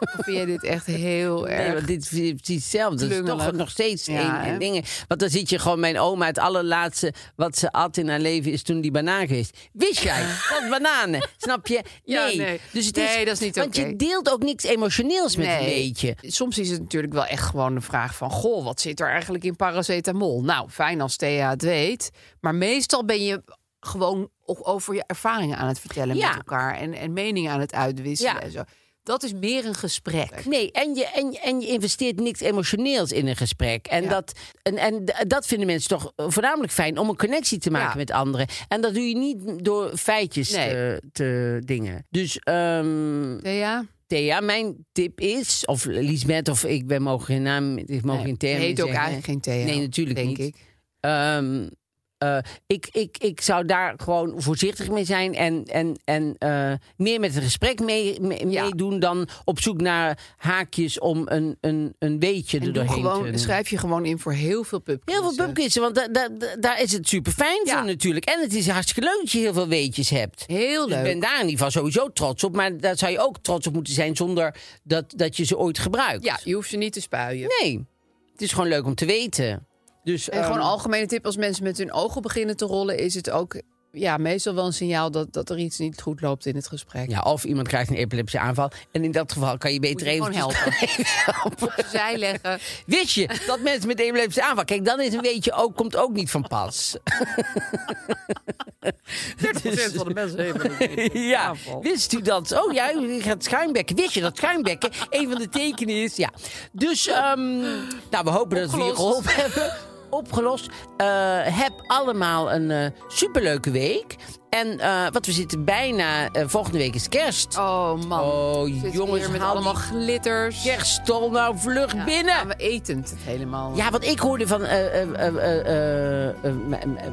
Speaker 2: of vind je dit echt heel
Speaker 1: Nee,
Speaker 2: erg?
Speaker 1: want dit is precies hetzelfde. Dat is toch
Speaker 2: Klungelig.
Speaker 1: nog steeds
Speaker 2: Ja,
Speaker 1: één één
Speaker 2: hè?
Speaker 1: ding. Want dan zit je gewoon mijn oma. Het allerlaatste wat ze at in haar leven is toen die banaan geweest. Wist jij dat bananen? Snap je?
Speaker 2: Ja, nee.
Speaker 1: Dus het
Speaker 2: Nee, dat is niet
Speaker 1: Want
Speaker 2: oké.
Speaker 1: je deelt ook niks emotioneels met een
Speaker 2: Nee.
Speaker 1: beetje.
Speaker 2: Soms is het natuurlijk wel echt gewoon de vraag van... goh, wat zit er eigenlijk in paracetamol? Nou, fijn als Thea het weet. Maar meestal ben je gewoon o- over je ervaringen aan het vertellen
Speaker 1: Ja.
Speaker 2: met elkaar... en, en meningen aan het uitwisselen
Speaker 1: Ja.
Speaker 2: en zo. Dat is meer een gesprek.
Speaker 1: Nee, en je, en, je- en je investeert niks emotioneels in een gesprek. En,
Speaker 2: Ja.
Speaker 1: dat, en, en d- dat vinden mensen toch eh, voornamelijk fijn om een connectie te maken
Speaker 2: Ja.
Speaker 1: met anderen. En dat doe je niet door feitjes
Speaker 2: Nee.
Speaker 1: te, te dingen. Dus ehm,
Speaker 2: Thea?
Speaker 1: Thea, mijn tip is, of Lisbeth, of ik ben mogen geen naam, ik mogen geen
Speaker 2: je
Speaker 1: term
Speaker 2: heet ook
Speaker 1: zeggen.
Speaker 2: eigenlijk geen Thea.
Speaker 1: Nee, natuurlijk
Speaker 2: denk
Speaker 1: niet.
Speaker 2: ik.
Speaker 1: Ehm, eh, ik, ik, ik zou daar gewoon voorzichtig mee zijn en, en, en eh, meer met het gesprek mee, mee-
Speaker 2: Ja.
Speaker 1: meedoen dan op zoek naar haakjes om een, een, een weetje
Speaker 2: En
Speaker 1: er
Speaker 2: doe
Speaker 1: doorheen te
Speaker 2: gewoon,
Speaker 1: doen.
Speaker 2: schrijf je gewoon in voor heel veel pubquiz.
Speaker 1: Heel veel pubquizzen, want da- da- da- daar is het super fijn
Speaker 2: Ja.
Speaker 1: voor natuurlijk. En het is hartstikke leuk dat je heel veel weetjes hebt.
Speaker 2: Heel
Speaker 1: Dus
Speaker 2: leuk.
Speaker 1: Ik ben daar in ieder geval sowieso trots op. Maar daar zou je ook trots op moeten zijn zonder dat, dat je ze ooit gebruikt.
Speaker 2: Ja, je hoeft ze niet te spuien.
Speaker 1: Nee, het is gewoon leuk om te weten. Dus,
Speaker 2: En gewoon
Speaker 1: ehm,
Speaker 2: een algemene tip, als mensen met hun ogen beginnen te rollen... is het ook ja, meestal wel een signaal dat, dat er iets niet goed loopt in het gesprek.
Speaker 1: Ja, of iemand krijgt een epileptische aanval. En in dat geval kan je
Speaker 2: Moet
Speaker 1: beter
Speaker 2: je
Speaker 1: even...
Speaker 2: gewoon helpen. Zij leggen.
Speaker 1: Wist je dat mensen met een epileptische aanval... Kijk, dan is een weetje ook, komt ook niet van pas. Dus,
Speaker 2: 30% van de mensen hebben
Speaker 1: ja, wist u dat? Oh ja, u gaat schuimbekken. Wist je dat schuimbekken een van de tekenen is? Ja. Dus, ehm, nou, we hopen dat we je
Speaker 2: Opgelost.
Speaker 1: geholpen hebben. Opgelost. Eh, heb allemaal een eh, superleuke week. En eh, wat we zitten bijna... eh, volgende week is kerst.
Speaker 2: Oh man.
Speaker 1: Oh,
Speaker 2: Zit
Speaker 1: jongens,
Speaker 2: hier met
Speaker 1: haal
Speaker 2: allemaal
Speaker 1: die
Speaker 2: glitters.
Speaker 1: Kerststol nou vlug
Speaker 2: Ja,
Speaker 1: binnen.
Speaker 2: gaan we etend het helemaal.
Speaker 1: Ja, want ik hoorde van. eh, eh, eh, eh, eh, eh, m- m- eh,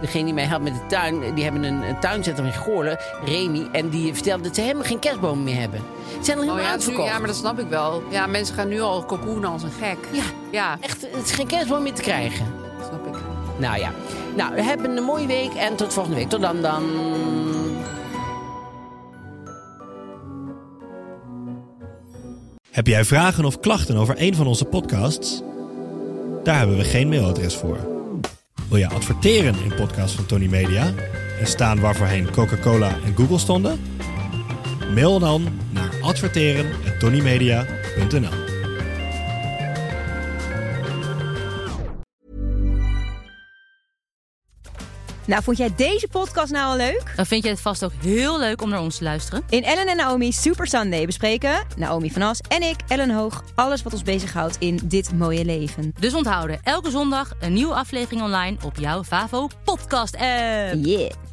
Speaker 1: Degene die mij helpt met de tuin, die hebben een, een tuinzetter in Goorlen, Remy. En die vertelde dat ze helemaal geen kerstbomen meer hebben. Ze zijn al
Speaker 2: Oh,
Speaker 1: helemaal
Speaker 2: ja, nu,
Speaker 1: uitverkocht.
Speaker 2: ja, maar dat snap ik wel. Ja, mensen gaan nu al cocoenen als een gek.
Speaker 1: Ja.
Speaker 2: Ja,
Speaker 1: Echt, het is geen kerstboom meer te krijgen.
Speaker 2: snap ik.
Speaker 1: Nou ja. Nou, heb een mooie week en tot volgende week. Tot dan dan.
Speaker 3: Heb jij vragen of klachten over een van onze podcasts? Daar hebben we geen mailadres voor. Wil jij adverteren in podcasts van Tony Media en staan waarvoorheen Coca-Cola en Google stonden? Mail dan naar adverteren@tonymedia.nl.
Speaker 4: Nou, vond jij deze podcast nou al leuk?
Speaker 5: Dan vind je het vast ook heel leuk om naar ons te luisteren.
Speaker 4: In Ellen en Naomi Super Sunday bespreken Naomi van As en ik, Ellen Hoog, alles wat ons bezighoudt in dit mooie leven.
Speaker 5: Dus onthouden, elke zondag een nieuwe aflevering online op jouw Favo podcast app.
Speaker 4: Yeah.